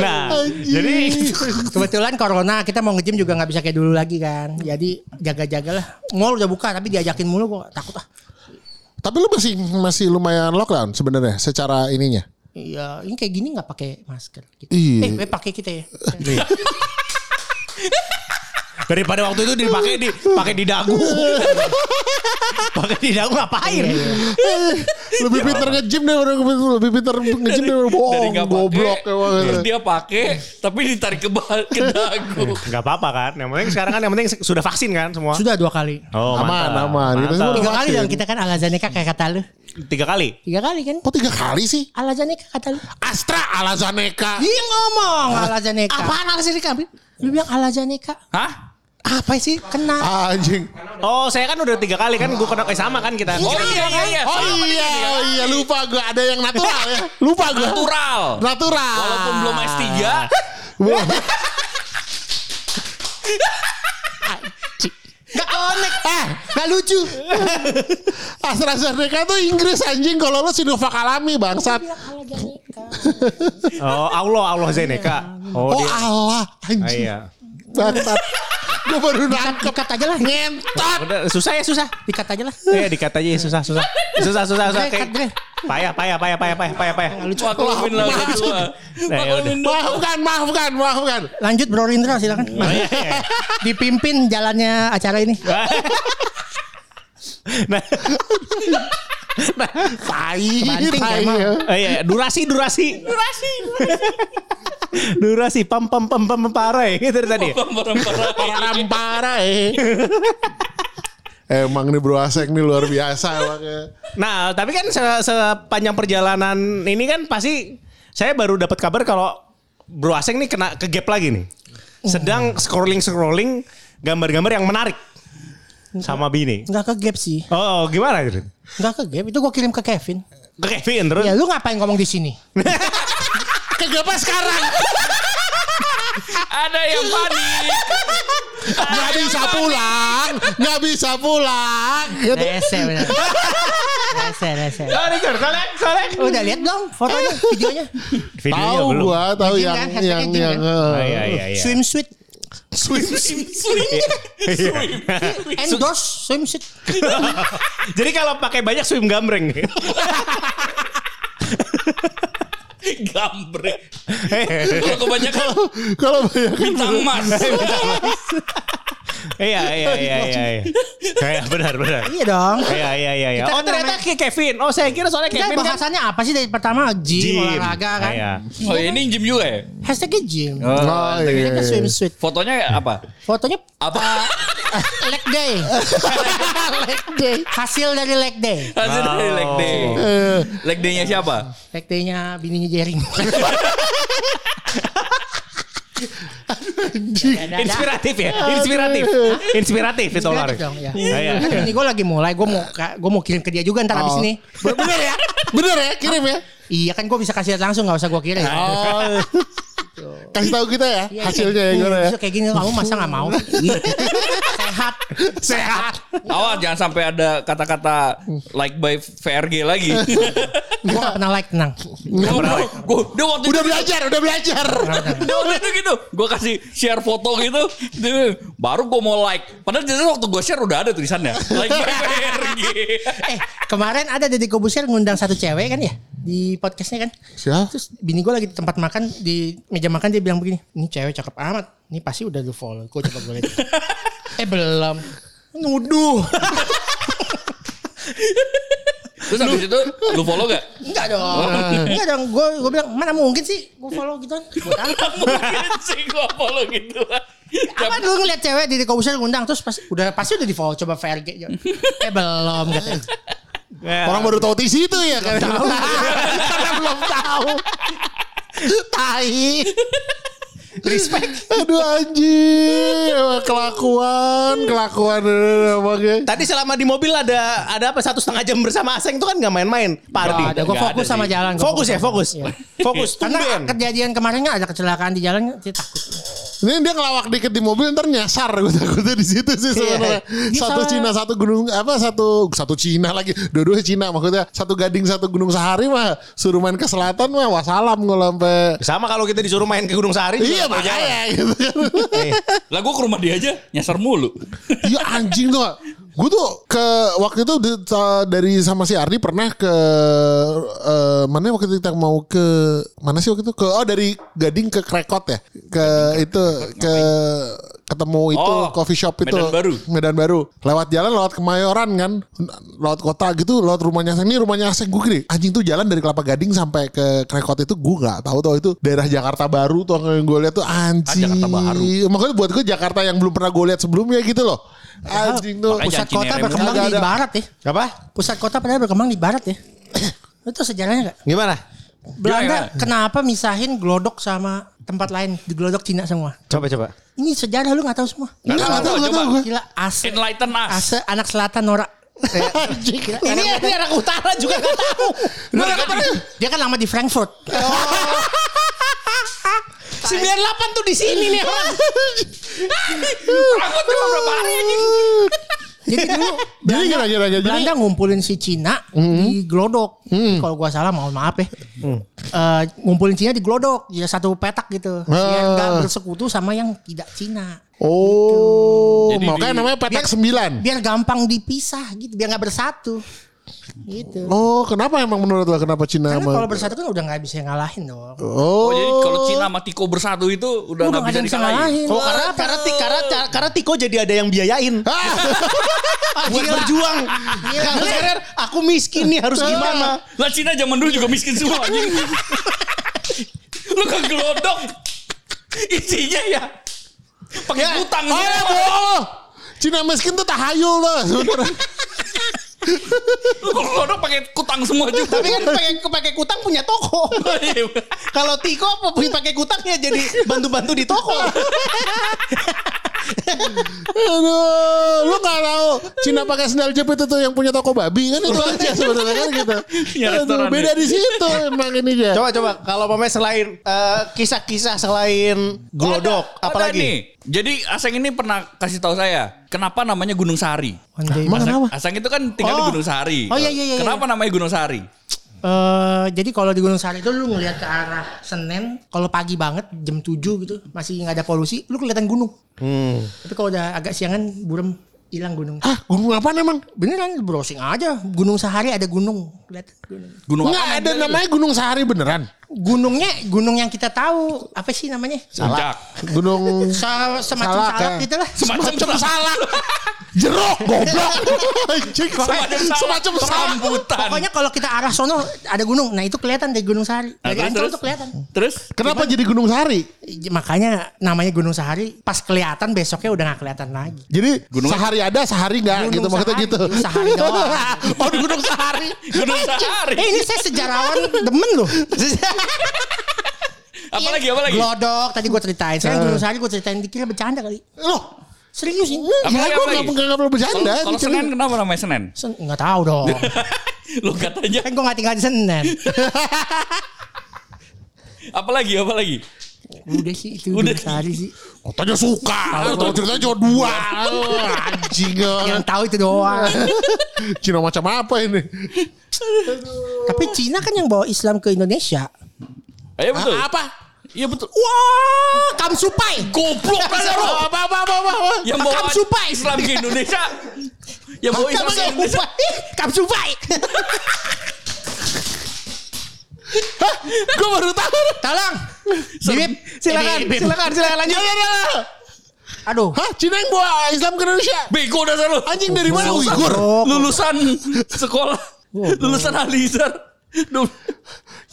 Speaker 3: nah, jadi [laughs]
Speaker 4: [laughs] Kebetulan corona kita mau nge-gym juga nggak bisa kayak dulu lagi kan. Jadi jaga-jagalah. Mall udah buka tapi diajakin mulu gua takut ah.
Speaker 1: Tapi lu masih masih lumayan lockdown sebenarnya secara
Speaker 5: [laughs]
Speaker 1: ininya.
Speaker 4: Iya, ini kayak gini nggak pakai masker. Gitu.
Speaker 1: Iya.
Speaker 4: Eh, eh, pakai kita ya.
Speaker 3: daripada waktu itu dipakai di pakai di
Speaker 5: [laughs]
Speaker 3: dagu. pakai di dagu ngapain?
Speaker 1: Lebih
Speaker 5: Ya.
Speaker 1: pinter nge-gym daripada lebih pinter nge-gym daripada bohong
Speaker 5: nggak Iya. pakai,
Speaker 1: Oh, goblok ya,
Speaker 5: Terus
Speaker 1: emang.
Speaker 5: dia pakai tapi ditarik ke, ba- ke dagu.
Speaker 3: Enggak apa-apa kan. Yang penting sekarang kan yang penting sudah vaksin kan semua.
Speaker 4: Sudah dua kali.
Speaker 3: Oh,
Speaker 1: Aman,
Speaker 3: mantap.
Speaker 1: aman. Kita
Speaker 3: Mantap.
Speaker 1: semua
Speaker 4: Tiga kali
Speaker 1: vaksin.
Speaker 4: dong kita kan ala Zaneka kayak kata lu.
Speaker 3: tiga kali.
Speaker 4: Tiga kali kan?
Speaker 1: Kok tiga kali sih?
Speaker 4: Ala Zaneka kata lu.
Speaker 1: Astra ala Zaneca.
Speaker 5: Iya.
Speaker 4: Dia ngomong ala Zaneka.
Speaker 1: Apaan
Speaker 4: ala Zaneka? Lu bilang ala Zaneka.
Speaker 5: Hah?
Speaker 4: Apa sih? Ah. Kena.
Speaker 1: Ah, Anjing.
Speaker 3: Oh, saya kan udah tiga kali kan gue kena eh, sama kan kita.
Speaker 5: Oh iya iya iya.
Speaker 1: Oh iya,
Speaker 5: Sama dia.
Speaker 1: oh iya lupa gue ada yang natural
Speaker 5: [laughs]
Speaker 1: ya. Lupa gue.
Speaker 5: Natural.
Speaker 1: Natural.
Speaker 5: Walaupun belum S3,
Speaker 1: [laughs] Wah,
Speaker 4: Gak connect. Ah, gak lucu.
Speaker 1: [laughs] AstraZeneca tuh Inggris anjing kalau lu Sinovac alami bangsat. [laughs]
Speaker 3: Oh, Allah Allah Zeneca. Oh,
Speaker 1: Oh
Speaker 3: dia.
Speaker 1: Allah
Speaker 3: Ah,
Speaker 1: anjing.
Speaker 3: iya.
Speaker 4: [laughs]
Speaker 1: Bangsat. Gue baru nangkep.
Speaker 4: Dikat aja lah.
Speaker 1: Ngentot.
Speaker 3: Udah susah ya susah.
Speaker 4: Dikat aja lah.
Speaker 3: Eh dikat aja ya, susah susah. Susah susah susah.
Speaker 4: Bre, cut, bre.
Speaker 3: Payah payah payah payah payah payah payah.
Speaker 5: Maklumin lah orang tua.
Speaker 3: Nah, ya udah.
Speaker 5: Maklumin dong.
Speaker 1: Maafkan, maafkan, maafkan.
Speaker 4: Lanjut Bro Rindra silakan.
Speaker 3: Oh, iya, iya.
Speaker 4: Dipimpin jalannya acara ini.
Speaker 3: nah,
Speaker 1: Tai,
Speaker 4: Kebanting
Speaker 1: tai.
Speaker 4: emang.
Speaker 1: ya.
Speaker 3: Oh iya, durasi, durasi. Durasi. durasi, pam pam pam pam pam, parah ya gitu dari tadi. ya?
Speaker 1: Orang parah eh. [laughs] Emang nih bro Asek nih luar biasa ya. emangnya.
Speaker 3: Nah, tapi kan se- sepanjang perjalanan ini kan pasti saya baru dapat kabar kalau Bro Aseng nih kena ke gap lagi nih.
Speaker 4: Oh.
Speaker 3: Sedang scrolling scrolling gambar-gambar yang menarik sama Bini.
Speaker 4: Enggak ke gap sih.
Speaker 3: Oh, gimana gitu?
Speaker 4: Enggak ke gap. Itu gue kirim ke Kevin.
Speaker 3: Ke Kevin terus.
Speaker 4: Ya lu ngapain ngomong di sini?
Speaker 1: Kegapa sekarang?
Speaker 5: Ada yang panik.
Speaker 1: Nggak bisa pulang. Nggak bisa pulang. Gitu.
Speaker 4: Rese [laughs] bener. Rese, rese.
Speaker 3: Sorry, Cur. Solek, solek.
Speaker 4: Udah lihat dong fotonya, videonya.
Speaker 3: Videonya
Speaker 1: Tahu
Speaker 3: belum.
Speaker 1: gua, tahu
Speaker 4: Izin
Speaker 1: yang
Speaker 4: kan, hashtagnya
Speaker 1: yang
Speaker 4: izin
Speaker 1: yang.
Speaker 3: Oh,
Speaker 1: eh.
Speaker 3: iya, iya, iya.
Speaker 4: Swimsuit.
Speaker 5: Swing. Iya.
Speaker 4: Endorse swimsuit.
Speaker 3: [laughs] Jadi kalau pakai banyak swim
Speaker 4: [laughs]
Speaker 3: gambreng.
Speaker 5: Gambreng. Kalau [laughs] kebanyakan
Speaker 1: Kalau banyak
Speaker 5: bintang emas.
Speaker 3: Iya, iya, iya, iya. iya. Iya, benar, benar.
Speaker 4: Iya dong.
Speaker 3: Iya, iya, iya, iya.
Speaker 4: Kita
Speaker 3: Oh,
Speaker 4: kan
Speaker 3: ternyata ke Kevin. Oh, saya kira soalnya
Speaker 4: Kita
Speaker 3: Kevin kan
Speaker 4: bahasannya apa sih dari pertama
Speaker 3: Gym.
Speaker 4: gym, olahraga kan?
Speaker 3: Iya.
Speaker 5: Oh ini gym juga ya?
Speaker 4: Hashtagnya gym. Nah,
Speaker 1: Oh, iya.
Speaker 4: Dia ke swimsuit.
Speaker 5: Fotonya apa?
Speaker 4: kan Fotonya
Speaker 5: [laughs]
Speaker 4: ah,
Speaker 5: Apa?
Speaker 4: leg day.
Speaker 1: [laughs]
Speaker 4: Hasil dari leg day.
Speaker 5: Hasil dari leg day. Leg day-nya siapa?
Speaker 4: Leg day-nya bininya
Speaker 1: [laughs]
Speaker 4: Jering.
Speaker 3: Inspiratif ya, inspiratif, inspiratif itu
Speaker 4: Inspiratif
Speaker 3: lari.
Speaker 4: dong, ya.
Speaker 3: Iya.
Speaker 4: Kan bini gue lagi mulai, gue mau gue mau kirim ke dia juga ntar abis ini.
Speaker 1: Oh. Bener ya? Bener ya? Kirim
Speaker 3: [laughs]
Speaker 1: ya?
Speaker 4: Iya kan gue bisa kasih lihat langsung gak usah gue kirim.
Speaker 1: Oh. Kasih tahu kita ya
Speaker 4: Iya,
Speaker 1: hasilnya ya
Speaker 4: iya.
Speaker 1: gimana ya.
Speaker 4: Terus Kayak gini kamu masa gak mau? Iya.
Speaker 1: [laughs]
Speaker 4: Sehat.
Speaker 3: Sehat.
Speaker 5: Awas jangan sampai ada kata-kata like by VRG lagi. [laughs]
Speaker 4: Gue gak pernah like tenang.
Speaker 5: Gue dia waktu
Speaker 1: Udah
Speaker 5: itu
Speaker 1: belajar, udah belajar.
Speaker 5: dia waktu itu gitu. Gue kasih share foto gitu. dia- baru gue mau like. Padahal jadi waktu gue share udah ada tulisannya. Like gitu. by VRG.
Speaker 4: Eh kemarin ada Deddy Kobusier ngundang satu cewek kan ya di podcastnya kan.
Speaker 1: Siap.
Speaker 4: Terus bini gue lagi di tempat makan di meja makan dia bilang begini, ini cewek cakep amat, ini pasti udah di follow. Gue coba gue lihat. eh belum. Nuduh.
Speaker 5: Terus habis itu lu follow gak?
Speaker 4: Enggak dong. Oh. Enggak dong. Gue gue bilang mana mungkin sih gue follow gitu kan. Buat apa?
Speaker 5: Mungkin sih gue follow gitu.
Speaker 4: Apa lu ngeliat cewek di Kobusier ngundang terus pas udah pasti udah di follow coba VRG. eh belum katanya.
Speaker 3: Iya.
Speaker 1: Orang baru tahu di situ ya kan. Karena belum tahu. Tai. Respect. Aduh anjing. Emang Kelakuan, kelakuan eh, emangnya.
Speaker 3: Tadi selama di mobil ada ada apa satu setengah jam bersama Aseng itu kan nggak main-main.
Speaker 4: Gak
Speaker 3: Party.
Speaker 4: ada, gue
Speaker 5: Nggak
Speaker 4: fokus
Speaker 5: ada
Speaker 4: sama
Speaker 5: sih.
Speaker 4: jalan. gua
Speaker 3: Fokus ya, fokus.
Speaker 4: Iya.
Speaker 3: Fokus.
Speaker 4: Karena
Speaker 3: Tumben.
Speaker 4: kejadian kemarin nggak ada kecelakaan di jalan, dia takut.
Speaker 1: Ini dia ngelawak dikit di mobil ntar nyasar gue takutnya di situ sih sebenarnya.
Speaker 4: Iya.
Speaker 1: Satu
Speaker 4: Bisa.
Speaker 1: Cina satu gunung apa satu satu Cina lagi. Dua-dua Cina maksudnya satu gading satu gunung sehari mah suruh main ke selatan mah wasalam gue sampai.
Speaker 3: Sama kalau kita disuruh main ke Gunung Sahari. juga
Speaker 1: Iya
Speaker 3: nggak jalan.
Speaker 1: makanya gitu kan.
Speaker 5: Lah gue ke rumah dia aja nyasar mulu.
Speaker 1: Iya anjing tuh. Gue tuh ke waktu itu di- ta- dari sama si Ardi pernah ke eh, mana waktu itu kita mau ke mana sih waktu itu ke oh dari Gading ke Krekot ya ke itu ke ketemu itu
Speaker 5: Oh,
Speaker 1: coffee shop itu
Speaker 5: Medan Baru.
Speaker 1: Medan Baru lewat jalan lewat Kemayoran kan lewat kota gitu lewat rumahnya Aseng. ini rumahnya Aseng gue gini anjing tuh jalan dari Kelapa Gading sampai ke Krekot itu gue nggak tahu tau itu daerah Jakarta Baru tuh yang gue lihat tuh anjing
Speaker 5: Ah, Jakarta Baru.
Speaker 1: Iya, makanya buat gue Jakarta yang belum pernah gue lihat sebelumnya gitu loh anjing tuh
Speaker 5: Makanya jangan
Speaker 4: Oh, Pusat kota
Speaker 5: Cinere
Speaker 4: berkembang
Speaker 1: Nggak
Speaker 4: di
Speaker 1: ada.
Speaker 4: barat ya.
Speaker 3: Apa?
Speaker 4: Pusat kota padahal berkembang di barat ya. Itu sejarahnya gak?
Speaker 3: Gimana?
Speaker 4: Belanda
Speaker 5: Gimana?
Speaker 4: kenapa misahin glodok sama tempat lain? Di glodok Cina semua.
Speaker 3: Coba coba.
Speaker 4: Ini sejarah lu gak tahu semua.
Speaker 1: Nggak, nggak tahu nggak
Speaker 5: Coba.
Speaker 1: tahu gue
Speaker 4: Gila ase.
Speaker 5: Enlighten us.
Speaker 4: Ase anak selatan norak.
Speaker 3: Ini ini anak utara juga nggak
Speaker 4: [laughs]
Speaker 3: tahu.
Speaker 4: Dia kan- Dia kan lama di Frankfurt.
Speaker 3: 98 tuh di sini nih orang.
Speaker 5: Aku cuma berapa hari aja.
Speaker 4: Jadi dulu
Speaker 1: [laughs] jadi gimana gimana gimana? jadi
Speaker 4: Belanda ngumpulin si Cina
Speaker 1: Hmm.
Speaker 4: di Glodok. Kalau gua salah mohon maaf ya. Eh, ngumpulin Cina di Glodok, ya satu petak gitu. Yang
Speaker 1: Ah.
Speaker 4: gak bersekutu sama yang tidak Cina.
Speaker 1: oh
Speaker 5: Jadi di-
Speaker 1: makanya namanya petak
Speaker 4: Biar-
Speaker 1: sembilan
Speaker 4: Biar gampang dipisah gitu, biar gak bersatu. Gitu.
Speaker 1: Oh, kenapa emang menurut lo kenapa Cina
Speaker 4: Karena
Speaker 1: sama
Speaker 4: kalau iya. bersatu kan udah nggak bisa ngalahin dong.
Speaker 1: Oh,
Speaker 5: Oh,
Speaker 1: [laughs]
Speaker 5: jadi kalau Cina sama Tiko bersatu itu udah
Speaker 4: Udah
Speaker 5: nggak
Speaker 4: nggak
Speaker 5: bisa
Speaker 4: ada yang bisa
Speaker 5: dikalahin.
Speaker 4: ngalahin.
Speaker 6: Oh, karena karena, ti- karena, karena Tiko jadi ada yang biayain. Buat berjuang.
Speaker 3: Nah,
Speaker 6: Karena sekarang aku miskin nih harus gimana?
Speaker 5: Lah Cina zaman dulu juga miskin semua anjing. Lu kegelodok. Isinya ya pakai utang
Speaker 1: Oh, ya,
Speaker 5: semua.
Speaker 1: bohong. Cina miskin tuh tahayul lah sebenarnya.
Speaker 5: Lu kegelodok pakai kutang semua juga. [laughs]
Speaker 6: Tapi kan pengen pakai kutang punya toko. Kalau Tiko apa beli pakai kutangnya jadi bantu-bantu di toko.
Speaker 1: Aduh, lu gak tahu Cina pakai sandal jepit itu yang punya toko babi kan itu aja sebenarnya kan gitu.
Speaker 5: Iya, restoran
Speaker 1: Aduh, beda di situ emang ini ya.
Speaker 6: Coba coba kalau pemain selain eh, kisah-kisah selain glodok
Speaker 5: Ada, ada nih.
Speaker 6: apalagi?
Speaker 5: Jadi Aseng ini pernah kasih tahu saya, kenapa namanya Gunung Sari?
Speaker 4: One day.
Speaker 1: Emang kenapa?
Speaker 5: Aseng itu kan tinggal di
Speaker 4: Oh.
Speaker 5: Gunung Sari.
Speaker 4: Oh, iya, iya, iya.
Speaker 5: Kenapa namanya Gunung Sari?
Speaker 4: Eh, jadi kalau di Gunung Sari itu lu ngelihat ke arah Senen, kalau pagi banget jam 7 gitu masih nggak ada polusi, lu kelihatan gunung. Tapi kalau udah agak siangan burem hilang gunung.
Speaker 1: Hah, gunung apa emang?
Speaker 4: Beneran browsing aja, gunung sehari ada gunung, kelihatan gunung.
Speaker 5: Gunung
Speaker 1: Enggak ada namanya Gunung Sahari beneran.
Speaker 4: Gunungnya gunung yang kita tahu apa sih namanya?
Speaker 5: Puncak.
Speaker 1: Gunung
Speaker 4: Sa- semacam
Speaker 1: Salak,
Speaker 4: salak,
Speaker 1: ya.
Speaker 4: gitu lah.
Speaker 5: Semacam salah.
Speaker 1: Jeruk goblok. Anjing,
Speaker 5: Semacam salah.
Speaker 1: semacam salah.
Speaker 5: sambutan.
Speaker 4: Pokoknya kalau kita arah sono ada gunung. Nah, itu kelihatan dari Gunung Sahari.
Speaker 5: Nah,
Speaker 4: Dari
Speaker 5: terus,
Speaker 4: Ancol
Speaker 5: terus?
Speaker 4: Iya, tuh kelihatan.
Speaker 5: Terus
Speaker 1: Kenapa jadi Gunung Sahari?
Speaker 4: Eh, Makanya namanya Gunung Sahari pas kelihatan besoknya udah nggak kelihatan lagi.
Speaker 1: Jadi
Speaker 5: Gunung-
Speaker 1: sehari ada, sehari enggak
Speaker 4: Gunung
Speaker 1: gitu maksudnya
Speaker 4: Sahari,
Speaker 1: gitu.
Speaker 4: Gunung
Speaker 1: [laughs]
Speaker 4: Sahari doang.
Speaker 1: oh, di Gunung Sahari.
Speaker 5: Gunung Sahari.
Speaker 4: Eh ini saya sejarawan demen
Speaker 1: [laughs]
Speaker 4: loh. Iya.
Speaker 5: Apalagi apalagi?
Speaker 4: Glodok tadi gue ceritain. Sekarang
Speaker 1: Eh.
Speaker 4: Gunung Sahari gue ceritain dikira bercanda kali.
Speaker 1: Loh,
Speaker 4: Serius ini?
Speaker 1: ya
Speaker 5: Apalagi,
Speaker 1: gua
Speaker 5: apalagi?
Speaker 1: enggak enggak perlu bercanda. gitu.
Speaker 5: Kalau kalau Senen kenapa namanya Senen?
Speaker 4: Sen- Nggak tahu
Speaker 1: [laughs]
Speaker 4: dong.
Speaker 5: Lu katanya
Speaker 4: Kan gue nggak tinggal di Senen.
Speaker 5: apalagi apalagi?
Speaker 4: Udah sih itu
Speaker 5: Udah.
Speaker 4: Gunung Sahari sih.
Speaker 1: Katanya suka. Tahu ceritanya cuma dua. Anjing.
Speaker 4: Yang tahu itu
Speaker 1: [laughs]
Speaker 4: doang.
Speaker 1: Cina macam apa ini?
Speaker 4: Tapi Cina kan yang bawa Islam ke Indonesia.
Speaker 5: Ayo betul.
Speaker 1: Ah, Apa?
Speaker 5: Iya betul.
Speaker 4: Wah, Kamsupai.
Speaker 5: Goblok kan
Speaker 1: Apa
Speaker 5: lu.
Speaker 1: apa apa apa? apa?
Speaker 5: Yang bawa
Speaker 4: Makam Supai.
Speaker 5: Islam ke Indonesia. Yang bawa Islam ke Indonesia.
Speaker 4: Kamsupai.
Speaker 1: Gue baru tahu.
Speaker 4: Tolong. Bip,
Speaker 6: Silakan,
Speaker 4: Bip.
Speaker 6: silakan, silakan lanjut.
Speaker 4: Aduh.
Speaker 1: Hah, Cina yang bawa Islam ke Indonesia?
Speaker 5: Bego dasar lu.
Speaker 1: Anjing dari mana Uighur?
Speaker 5: Oh. Lulusan sekolah. Lulusan Alizar. Duh.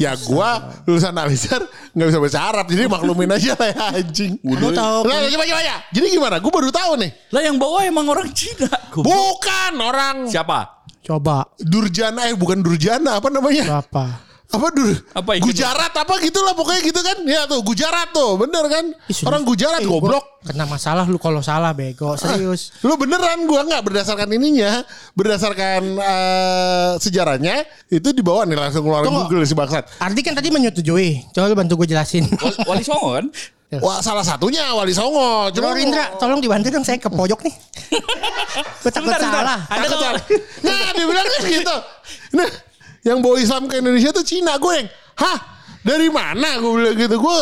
Speaker 1: Ya gua lulusan Alizar nggak bisa bahasa Arab jadi maklumin aja lah ya anjing.
Speaker 4: Lu tahu
Speaker 1: Nah, coba coba ya. Jadi gimana? Gue baru tahu nih.
Speaker 5: Lah yang bawa emang orang Cina. Goblok.
Speaker 1: Bukan orang
Speaker 5: Siapa?
Speaker 4: coba
Speaker 1: Durjana eh bukan Durjana apa namanya?
Speaker 4: berapa?
Speaker 1: Apa dur?
Speaker 5: Apa itu?
Speaker 1: Gujarat apa gitulah pokoknya gitu kan. Ya tuh Gujarat tuh bener kan? Orang Gujarat goblok.
Speaker 4: Eh, Kena masalah lu kalau salah bego, serius.
Speaker 1: Lu beneran gua nggak berdasarkan ininya, berdasarkan eh, sejarahnya itu dibawa nih langsung keluar
Speaker 4: Tunggu.
Speaker 1: Google si bangsat.
Speaker 4: Ardi kan tadi menyetujui. Coba lu bantu gue jelasin.
Speaker 5: Wali- Wali Songo kan?
Speaker 1: Wah, salah satunya Wali Songo.
Speaker 4: Bro Rindra, tolong dibantu dong saya ke pojok nih. Gue takut
Speaker 5: Bentar, bentar.
Speaker 4: salah.
Speaker 5: Ada
Speaker 1: Takut
Speaker 5: kawan-
Speaker 1: salah. Nah, dibilang kan gitu. Nah, yang bawa Islam ke Indonesia tuh Cina. Gue yang, hah? Dari mana? Gue bilang gitu. Gue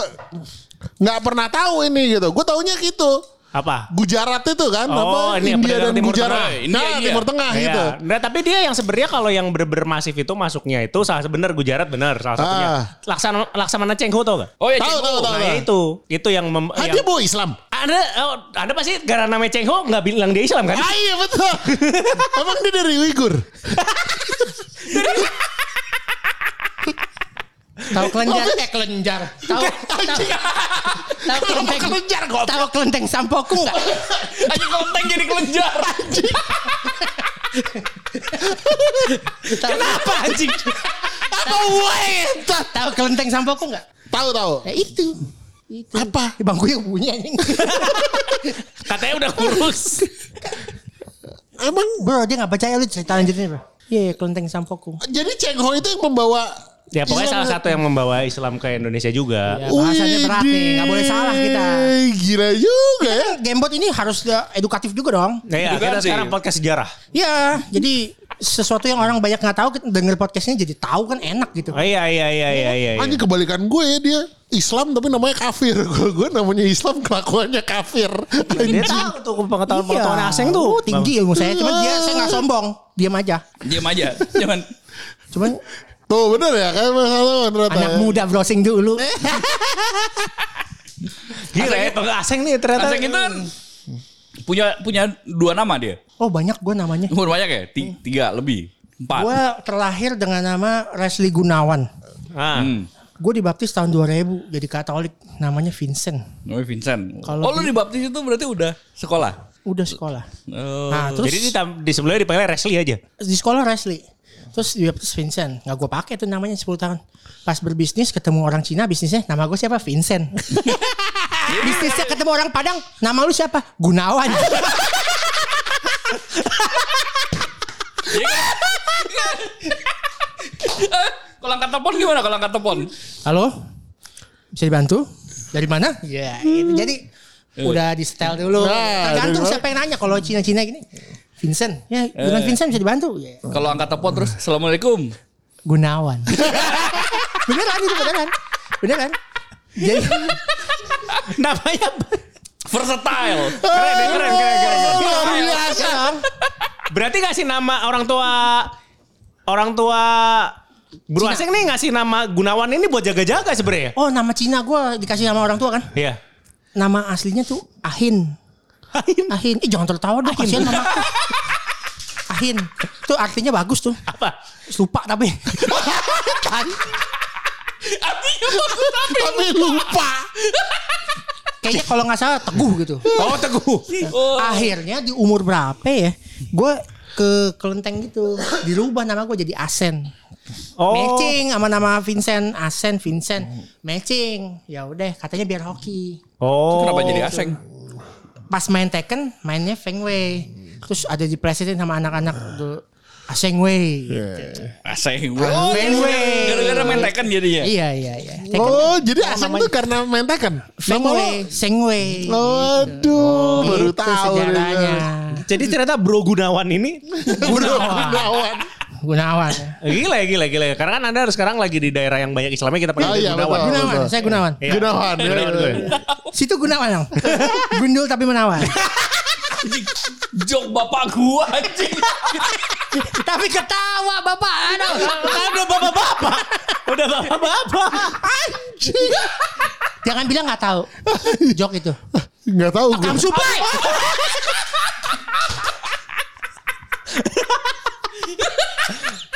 Speaker 1: nggak pernah tahu ini gitu. Gue taunya gitu.
Speaker 3: Apa?
Speaker 1: Gujarat itu kan.
Speaker 3: Oh, ini
Speaker 1: India
Speaker 3: apa,
Speaker 1: dan
Speaker 3: Timur
Speaker 1: Gujarat.
Speaker 5: Tengah. India,
Speaker 1: nah,
Speaker 5: iya.
Speaker 1: Timur Tengah
Speaker 3: Iya.
Speaker 1: gitu.
Speaker 3: Nah, tapi dia yang sebenarnya kalau yang bener-bener masif itu masuknya itu salah bener Gujarat bener salah satunya.
Speaker 1: Ah.
Speaker 3: Laksan Laksamana Cheng Ho tau gak?
Speaker 5: Oh ya,
Speaker 1: Tahu,
Speaker 5: Cina.
Speaker 1: tahu, tahu.
Speaker 3: Nah, itu Oh, iya. itu yang mem,
Speaker 1: Hah,
Speaker 6: Ah,
Speaker 3: yang-
Speaker 1: dia bawa
Speaker 3: [laughs]
Speaker 1: Islam.
Speaker 3: Anda, oh, anda pasti karena namanya Cheng Ho nggak bilang dia Islam kan?
Speaker 6: [laughs]
Speaker 1: Ah, iya
Speaker 3: [laughs]
Speaker 1: betul. Emang dia dari Uighur?
Speaker 4: Tahu kelenjar, eh kelenjar. Tahu tahu- tahu kelenteng.
Speaker 1: Kelenjar kok.
Speaker 4: Tahu kelenteng sampoku enggak?
Speaker 5: Aja konten jadi kelenjar.
Speaker 4: Kenapa anjing?
Speaker 1: Apa wae?
Speaker 4: Tahu kelenteng sampoku enggak?
Speaker 1: Tahu tahu.
Speaker 4: Ya itu. Itu.
Speaker 1: Apa?
Speaker 4: Eh, Bangku yang bunyi anjing.
Speaker 3: Katanya udah kurus.
Speaker 1: Emang
Speaker 4: Bro, dia enggak percaya lu cerita lanjutin, Bro. Iya, yeah, kelenteng sampoku.
Speaker 1: jadi Cheng Ho itu yang membawa
Speaker 3: ya pokoknya
Speaker 1: Islam
Speaker 3: salah
Speaker 1: ke-
Speaker 3: satu yang membawa Islam ke Indonesia juga.
Speaker 4: Ya, bahasanya berat nih, nggak boleh salah kita.
Speaker 1: Widih, Gila juga ya.
Speaker 4: Gamebot ini harus ya, edukatif juga dong.
Speaker 1: Iya,
Speaker 3: Nah, ya,
Speaker 5: Juga
Speaker 3: kita
Speaker 5: sih.
Speaker 3: sekarang podcast sejarah.
Speaker 4: Iya, jadi sesuatu yang orang banyak nggak tahu denger podcastnya jadi tahu kan enak gitu.
Speaker 3: Oh iya iya iya iya iya. iya.
Speaker 1: Anjing kebalikan gue ya dia Islam tapi namanya kafir. [laughs] Gue gue namanya Islam kelakuannya kafir.
Speaker 6: Dia
Speaker 1: Anjing.
Speaker 4: Iya,
Speaker 6: tahu tuh
Speaker 3: Iya.
Speaker 6: pengetahuan-pengetahuan asing tuh.
Speaker 4: Oh, tinggi ilmu saya, cuman dia saya nggak sombong, diam aja.
Speaker 5: Diam aja. Jangan.
Speaker 4: Cuman
Speaker 1: Tuh bener ya kan masalah ternyata.
Speaker 4: anak muda browsing dulu.
Speaker 3: [laughs] Gila ya.
Speaker 6: Aseng- Aseng nih ternyata.
Speaker 5: Aseng itu kan punya punya dua nama dia.
Speaker 4: Oh banyak gue namanya.
Speaker 5: Umur banyak ya? Ti- Tiga lebih. Empat.
Speaker 4: Gue terlahir dengan nama Leslie Gunawan.
Speaker 3: Ah.
Speaker 5: Hmm.
Speaker 4: Gue dibaptis tahun 2000 jadi Katolik. Namanya Vincent.
Speaker 5: Namanya Vincent. oh
Speaker 4: Kalau
Speaker 5: lu
Speaker 4: di-
Speaker 5: dibaptis itu berarti udah sekolah?
Speaker 4: Udah sekolah.
Speaker 5: Oh.
Speaker 4: Nah terus
Speaker 3: Jadi di, tam- di sebelahnya dipanggil Resli aja.
Speaker 4: di sekolah Leslie. Terus dibaptis Vincent. Gak gue pakai tuh namanya 10 tahun. Pas berbisnis ketemu orang Cina bisnisnya. Nama gue siapa?
Speaker 3: [laughs]
Speaker 4: Vincent. bisnisnya ketemu orang Padang. Nama lu siapa? Gunawan.
Speaker 5: Kalau angkat telepon gimana kalau angkat telepon?
Speaker 4: Halo? Bisa dibantu? Dari mana? Ya, itu. jadi udah di setel dulu.
Speaker 1: Nah,
Speaker 4: Tergantung
Speaker 1: dari
Speaker 4: siapa yang nanya kalau Cina-Cina gini. Vincent, ya Gunawan Vincent bisa dibantu. Ya.
Speaker 5: Kalau angkat telepon terus Assalamualaikum.
Speaker 4: Gunawan. beneran itu beneran. Beneran. Jadi
Speaker 3: Namanya
Speaker 5: Versatile.
Speaker 3: keren, ya, keren, keren, keren.
Speaker 1: Luar biasa.
Speaker 4: kan?
Speaker 3: Berarti ngasih nama orang tua orang tua Bro
Speaker 4: Cina.
Speaker 3: Aseng nih ngasih nama Gunawan ini buat jaga-jaga sebenarnya. ya?
Speaker 4: oh nama Cina gua dikasih sama orang tua kan.
Speaker 3: Iya. [laughs]
Speaker 4: Nama aslinya tuh Ahin. Ahin. Ih jangan tertawa dong kasihan mama. Ahin. Itu artinya bagus tuh.
Speaker 3: Apa?
Speaker 4: Lupa tapi. kan.
Speaker 1: Tapi lupa.
Speaker 4: Kayaknya kalau nggak salah teguh gitu.
Speaker 3: Oh, Teguh.
Speaker 5: Ah,
Speaker 4: Akhirnya di umur berapa ya? Gue ke kelenteng gitu. Dirubah nama gue jadi Asen.
Speaker 3: Oh.
Speaker 4: Matching sama nama Vincent, Asen, Vincent, matching. Ya udah, katanya biar hoki.
Speaker 3: Oh.
Speaker 5: Kenapa jadi aseng?
Speaker 4: Pas main Tekken, mainnya Feng Wei. Terus ada di PlayStation sama anak-anak tuh, Aseng Wei.
Speaker 5: Aseng. gue.
Speaker 4: Oh, Fenway.
Speaker 5: iya, Gara-gara main Tekken jadinya.
Speaker 4: Iya iya iya. Tekken.
Speaker 1: Oh jadi asing tuh karena main Tekken.
Speaker 4: Feng
Speaker 1: Nama
Speaker 4: Wei, Seng Wei.
Speaker 1: lo. Aduh Oh, baru
Speaker 4: Itu
Speaker 1: tahu. dia.
Speaker 4: sejarahnya.
Speaker 6: Jadi ternyata Bro Gunawan ini
Speaker 4: Gunawan.
Speaker 1: [laughs] Gunawan.
Speaker 4: Gunawan.
Speaker 3: Gila ya, gila gila. Karena kan Anda sekarang lagi di daerah yang banyak Islamnya kita
Speaker 1: Oh,
Speaker 3: panggil
Speaker 1: iya,
Speaker 3: Gunawan.
Speaker 1: betul.
Speaker 4: Gunawan, saya Gunawan.
Speaker 3: Iya.
Speaker 1: Gunawan. ya.
Speaker 3: Gunawan gue.
Speaker 4: Situ Gunawan dong. Gundul tapi menawan.
Speaker 5: Anjing, Jok bapak gua anjing.
Speaker 4: tapi ketawa bapak. Aduh,
Speaker 6: ada bapak-bapak. Udah bapak-bapak.
Speaker 4: Jangan bilang nggak tahu. Jok itu.
Speaker 1: Gak tahu gue.
Speaker 4: Supai.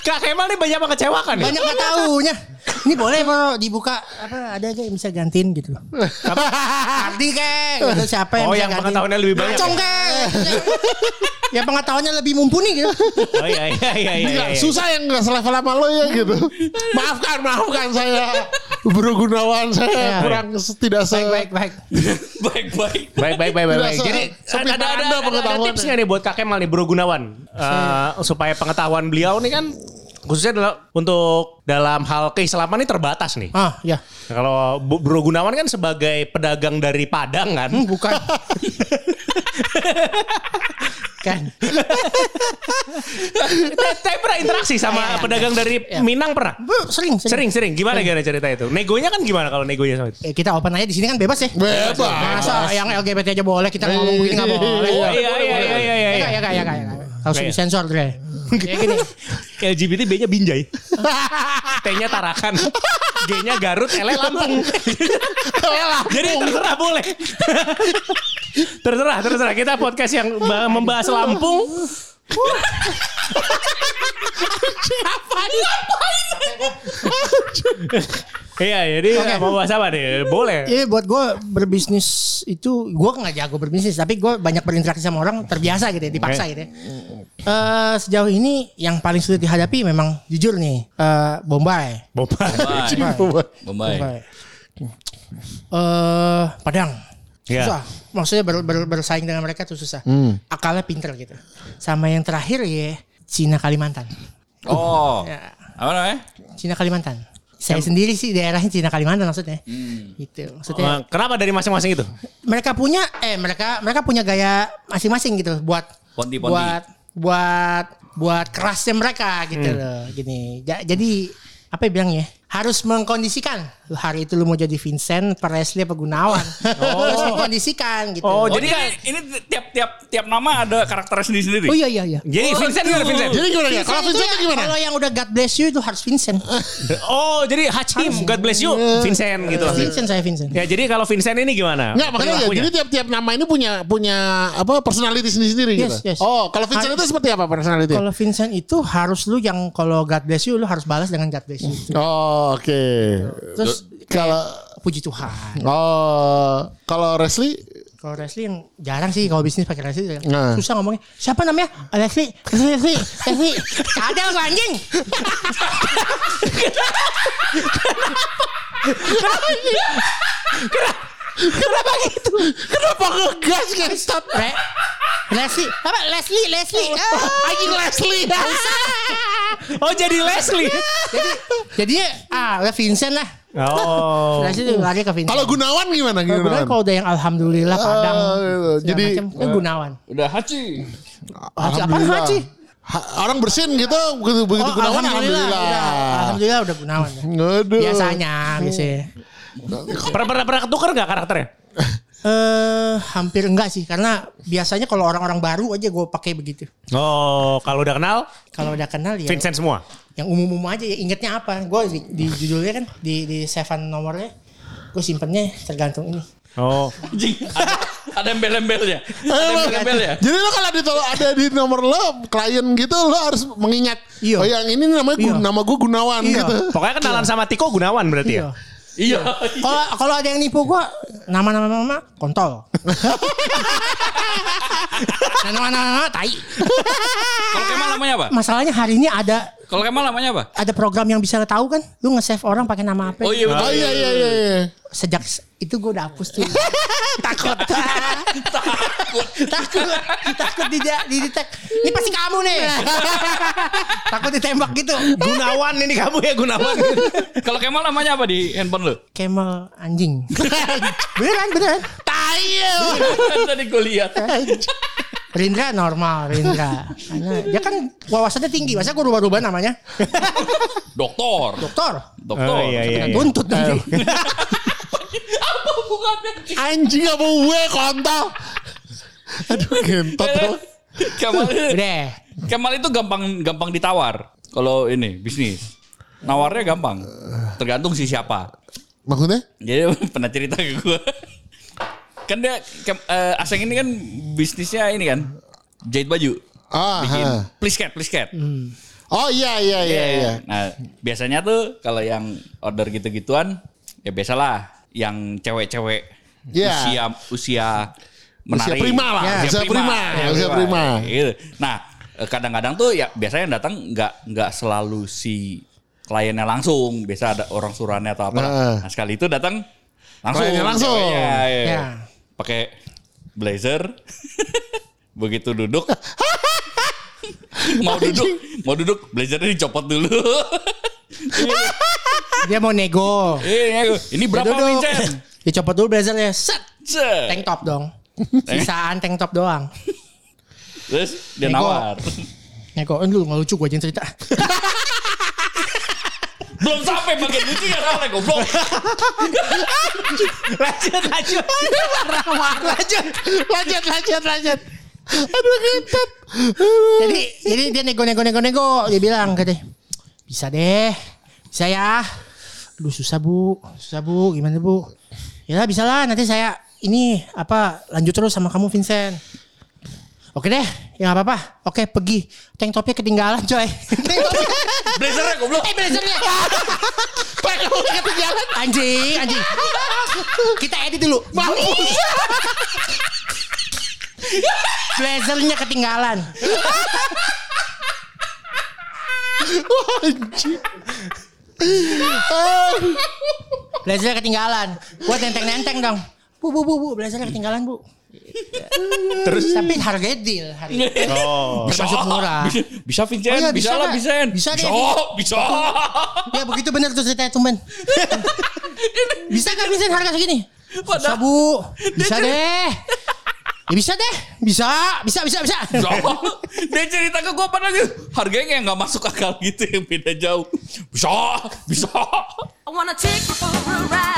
Speaker 3: Kak Kemal nih banyak mengecewakan ya.
Speaker 4: Banyak nggak tahunya. Ini boleh bro dibuka apa ada aja yang bisa gantiin gitu loh. Ardi kek, gitu, siapa yang
Speaker 3: Oh,
Speaker 4: bisa
Speaker 3: yang
Speaker 4: gantiin?
Speaker 3: pengetahuannya lebih banyak ya?
Speaker 4: Acong kek. yang pengetahuannya lebih mumpuni gitu.
Speaker 3: Oh iya iya iya iya.
Speaker 1: Gila,
Speaker 3: iya.
Speaker 1: susah yang gak selevel sama lo ya
Speaker 4: [laughs]
Speaker 1: gitu. maafkan, maafkan saya. Bro Gunawan
Speaker 3: Iya,
Speaker 1: saya
Speaker 4: Ya.
Speaker 1: kurang se- tidak se...
Speaker 4: Baik baik baik.
Speaker 5: Baik-baik.
Speaker 3: Baik baik baik baik.
Speaker 1: Tidak
Speaker 3: baik.
Speaker 1: se-
Speaker 3: Jadi
Speaker 1: sepintar
Speaker 3: ada ada
Speaker 1: Anda
Speaker 3: ada, ada,
Speaker 1: pengetahuan.
Speaker 3: tips nggak nih buat Kak Kemal nih Bro Gunawan Eh, supaya pengetahuan beliau nih kan khususnya dalam, untuk dalam hal keislaman ini terbatas nih.
Speaker 4: Ah ya.
Speaker 3: Kalau Bu- Bro Gunawan kan sebagai pedagang dari Padang kan. [laughs]
Speaker 4: Hmm, bukan. kan.
Speaker 3: Tapi pernah interaksi sama
Speaker 4: Iya, iya,
Speaker 3: pedagang dari
Speaker 4: Iya.
Speaker 3: Minang pernah?
Speaker 4: Bu, Sering
Speaker 3: Sering sering. Gimana gimana cerita itu? Negonya kan gimana kalau negonya sama itu?
Speaker 4: Eh, kita open aja di sini kan bebas ya.
Speaker 1: Bebas.
Speaker 4: Masa yang LGBT aja boleh kita ngomong begini nggak boleh.
Speaker 1: Oh,
Speaker 3: iya iya iya iya
Speaker 4: Ya kak, ya kak, ya kak. ya, Kak. Harus
Speaker 3: Kayak-
Speaker 4: disensor
Speaker 3: [laughs]
Speaker 4: deh. Kayak gini.
Speaker 3: LGBT B-nya Binjai. [laughs] T-nya Tarakan. G-nya Garut, L-nya Lampung. Jadi terserah boleh. terserah, terserah. Kita podcast yang ba- membahas Lampung. Iya, jadi
Speaker 4: Oke.
Speaker 3: mau bahas apa deh? Boleh.
Speaker 4: Iya buat gue berbisnis itu gue nggak jago berbisnis tapi gue banyak berinteraksi sama orang terbiasa gitu ya
Speaker 3: Iya.
Speaker 4: dipaksa gitu ya. Eh, sejauh ini yang paling sulit dihadapi memang jujur nih eh, Bombay.
Speaker 3: Boba.
Speaker 1: Iya,
Speaker 5: Baik. Baik.
Speaker 4: Bombay. Eh, Padang.
Speaker 3: Iya. Hmm.
Speaker 4: Susah. Maksudnya ber- ber- bersaing dengan mereka tuh susah. Akalnya pinter gitu. Sama yang terakhir ya Cina Kalimantan.
Speaker 5: Oh.
Speaker 4: Ya.
Speaker 5: Apa namanya?
Speaker 4: Cina Kalimantan. Saya sendiri sih daerahnya Cina Kalimantan maksudnya. Gitu. Maksudnya
Speaker 1: Oh.
Speaker 3: Kenapa dari masing-masing itu?
Speaker 4: mereka punya eh mereka mereka punya gaya masing-masing gitu buat
Speaker 5: Ponti-ponti.
Speaker 4: buat buat buat kerasnya mereka gitu
Speaker 1: Hmm.
Speaker 4: loh gini Ja- jadi apa ya bilang ya harus mengkondisikan Lu hari itu lu mau jadi Vincent, Presley apa Gunawan
Speaker 1: [laughs] Oh.
Speaker 4: harus mengkondisikan gitu
Speaker 3: Oh,
Speaker 5: Oh,
Speaker 3: jadi
Speaker 5: jadi ini, ini tiap-tiap tiap nama ada karakternya sendiri-sendiri.
Speaker 4: Oh, iya iya iya
Speaker 3: Jadi Vincent gimana Vincent?
Speaker 1: Jadi gimana ya? Kalau Vincent
Speaker 4: itu
Speaker 1: tuh gimana?
Speaker 4: Kalau yang udah God bless you itu harus Vincent.
Speaker 3: Oh, jadi Hachim, God bless you, Vincent gitu.
Speaker 4: Vincent saya Vincent.
Speaker 3: Ya, jadi kalau Vincent ini gimana?
Speaker 1: Enggak
Speaker 4: Iya,
Speaker 1: makanya ya,
Speaker 3: Perilakunya?
Speaker 1: jadi tiap-tiap nama ini punya punya apa personality sendiri-sendiri
Speaker 4: Yes,
Speaker 1: gitu.
Speaker 4: yes.
Speaker 1: Oh, kalau Vincent itu seperti apa personality?
Speaker 4: Kalau Vincent itu harus lu yang kalau God bless you lu harus balas dengan God bless you.
Speaker 1: Oh, oke.
Speaker 4: Terus
Speaker 1: Kalau
Speaker 4: puji Tuhan.
Speaker 1: oh, kalau Resli
Speaker 4: Kalau Leslie yang jarang sih kalau bisnis pakai Leslie
Speaker 1: Nah.
Speaker 4: susah ngomongnya. Siapa namanya? Ah, Leslie, Leslie, Leslie, Leslie. Ada lu anjing.
Speaker 1: kenapa gitu? Kenapa ngegas guys? Stop. Oh,
Speaker 4: Re, Leslie, apa Leslie, Leslie. Ah,
Speaker 1: Anjing Leslie.
Speaker 3: Oh, jadi Leslie.
Speaker 4: Jadi jadinya ah udah Vincent lah.
Speaker 3: Oh.
Speaker 4: Leslie tuh lari ke Vincent.
Speaker 1: Kalau Gunawan gimana?
Speaker 4: Kalau Gunawan
Speaker 1: Gunawan.
Speaker 4: kalau udah yang alhamdulillah
Speaker 1: Iya,
Speaker 4: Padang.
Speaker 1: Ah, gitu.
Speaker 4: segala
Speaker 1: Jadi,
Speaker 4: macam, kan Gunawan.
Speaker 5: Udah Hachi.
Speaker 4: Haji apaan
Speaker 1: Alhamdulillah.
Speaker 4: Haji? Oh,
Speaker 1: Ha- orang bersin gitu begitu begitu Gunawan ya,
Speaker 4: Udah,
Speaker 1: alhamdulillah.
Speaker 4: Iya, alhamdulillah udah Gunawan. ya.
Speaker 1: Aduh.
Speaker 4: Biasanya biasanya.
Speaker 3: Pernah pernah pernah ketukar nggak karakternya?
Speaker 4: Eh hampir enggak sih karena biasanya kalau orang-orang baru aja gue pakai begitu.
Speaker 3: Oh, kalau udah kenal
Speaker 4: Kalau udah kenal ya
Speaker 3: Vincent semua.
Speaker 4: yang umum-umum aja ya ingetnya apa. Gue di, di judulnya kan di di seven nomornya gue simpennya tergantung ini.
Speaker 3: Oh.
Speaker 5: Anjing, ada, ada embel-embelnya. Ada
Speaker 1: Emang.
Speaker 5: embel-embelnya.
Speaker 1: Jadi lo kalau ditolak ada di nomor lo klien gitu lo harus mengingat
Speaker 4: Iya.
Speaker 1: oh yang ini namanya Gu-
Speaker 4: Iya.
Speaker 1: nama gue Gunawan
Speaker 4: Iya.
Speaker 1: gitu.
Speaker 3: Pokoknya kenalan sama Tiko Gunawan berarti ya.
Speaker 5: Iya.
Speaker 4: Iya. Kalau kalau ada yang nipu gue nama-nama mama kontol. Nama-nama tai.
Speaker 5: Kalau Kemal namanya apa?
Speaker 4: Masalahnya hari ini ada
Speaker 5: Kalau Kemal namanya apa?
Speaker 4: ada program yang bisa tahu kan lu nge-save orang pakai nama apa
Speaker 5: Oh iya betul.
Speaker 1: Oh iya iya iya. iya.
Speaker 4: sejak s- itu gue udah hapus
Speaker 5: [laughs]
Speaker 4: tuh
Speaker 5: Takut. Takut.
Speaker 4: takut takut di di detect ini pasti kamu
Speaker 5: [laughs]
Speaker 4: nih takut ditembak gitu
Speaker 3: Gunawan ini kamu ya Gunawan.
Speaker 5: Kalau Kemal namanya apa di handphone lu?
Speaker 4: camel
Speaker 5: [laughs]
Speaker 4: anjing beneran beneran
Speaker 1: Tayo.
Speaker 5: [laughs] Tadi gue lihat.
Speaker 4: Rindra normal Rindra Karena dia kan wawasannya tinggi masa gue rubah-rubah namanya
Speaker 5: Doktor.
Speaker 4: doktor
Speaker 5: Doktor.
Speaker 3: Oh, iya, iya.
Speaker 4: Kena tuntut nanti
Speaker 5: Apa hubungannya?
Speaker 1: iya. Anjing apa gue kontol. Aduh gentot lo.
Speaker 5: [laughs] Kemal,
Speaker 4: udah
Speaker 5: Kemal itu gampang gampang ditawar. Kalau ini bisnis. Nawarnya gampang. Tergantung si siapa.
Speaker 1: Maksudnya?
Speaker 5: Jadi [laughs] pernah cerita ke gue. Kan dia Kem- eh, Aseng ini kan bisnisnya ini kan jahit baju.
Speaker 1: Ah.
Speaker 5: Bikin
Speaker 1: ha.
Speaker 5: please cat, please cat.
Speaker 1: Oh iya iya iya iya.
Speaker 5: Nah, biasanya tuh kalau yang order gitu-gituan ya biasalah yang cewek-cewek
Speaker 1: Iya.
Speaker 5: usia usia Iya, menarik.
Speaker 1: prima lah, usia prima, usia prima.
Speaker 5: Gitu. Nah, eh, kadang-kadang tuh ya biasanya yang datang nggak nggak selalu si kliennya langsung, biasa ada orang surannya atau apa.
Speaker 1: Nah.
Speaker 5: Nah, sekali itu datang langsung.
Speaker 1: Kliennya langsung.
Speaker 5: Iya, iya.
Speaker 4: Ya.
Speaker 5: Pakai blazer. [laughs] Begitu duduk
Speaker 1: [laughs]
Speaker 5: mau duduk, mau duduk, blazernya dicopot dulu. [laughs]
Speaker 4: dia mau nego
Speaker 5: Iya, iya. ini berapa
Speaker 4: Dia duduk.
Speaker 5: Vincent?
Speaker 4: dicopot dulu blazernya set
Speaker 5: Cet.
Speaker 4: tank top
Speaker 1: [laughs]
Speaker 4: dong sisaan tank top doang
Speaker 5: Terus dia
Speaker 4: Nego.
Speaker 5: nawar.
Speaker 4: nego eh, lu nggak lucu gue aja cerita
Speaker 5: Belum sampai bagian lucu ya soalnya goblok.
Speaker 3: lanjut lanjut.
Speaker 1: [laughs] Lanjut lanjut lanjut lanjut. Aduh gentot.
Speaker 4: jadi jadi dia nego nego nego nego dia bilang katanya bisa deh bisa ya lu susah bu susah bu gimana bu ya lah, bisa lah nanti saya ini apa lanjut terus sama kamu Vincent oke deh ya nggak apa-apa oke pergi tank topnya ketinggalan coy [laughs] tank topnya
Speaker 5: Blazernya goblok.
Speaker 4: eh blazernya tank topnya ketinggalan anjing anjing kita edit dulu mampus blazernya ketinggalan
Speaker 1: [laughs]
Speaker 4: Blazernya ketinggalan. Gua nenteng-nenteng dong. Bu, bu, bu, bu, blazernya ketinggalan, Bu. Terus tapi harganya deal hari ini.
Speaker 3: Oh.
Speaker 4: Termasuk murah.
Speaker 5: Bisa, bisa Vincent,
Speaker 4: Oh iya,
Speaker 5: bisa,
Speaker 4: bisa,
Speaker 5: lah
Speaker 4: Kak.
Speaker 5: Vincent.
Speaker 4: Bisa deh.
Speaker 5: bisa.
Speaker 4: Ya begitu bener tuh ceritanya tumben. Bisa kan bisa harga segini? Bisa
Speaker 5: Padahal-
Speaker 4: bu, bisa deh. Ya bisa deh, bisa, bisa, bisa, bisa.
Speaker 5: Jauh. Dia cerita ke gue padahal dia- harganya kayak nggak masuk akal gitu yang beda jauh. Bisa, bisa.
Speaker 2: I wanna take you for a ride.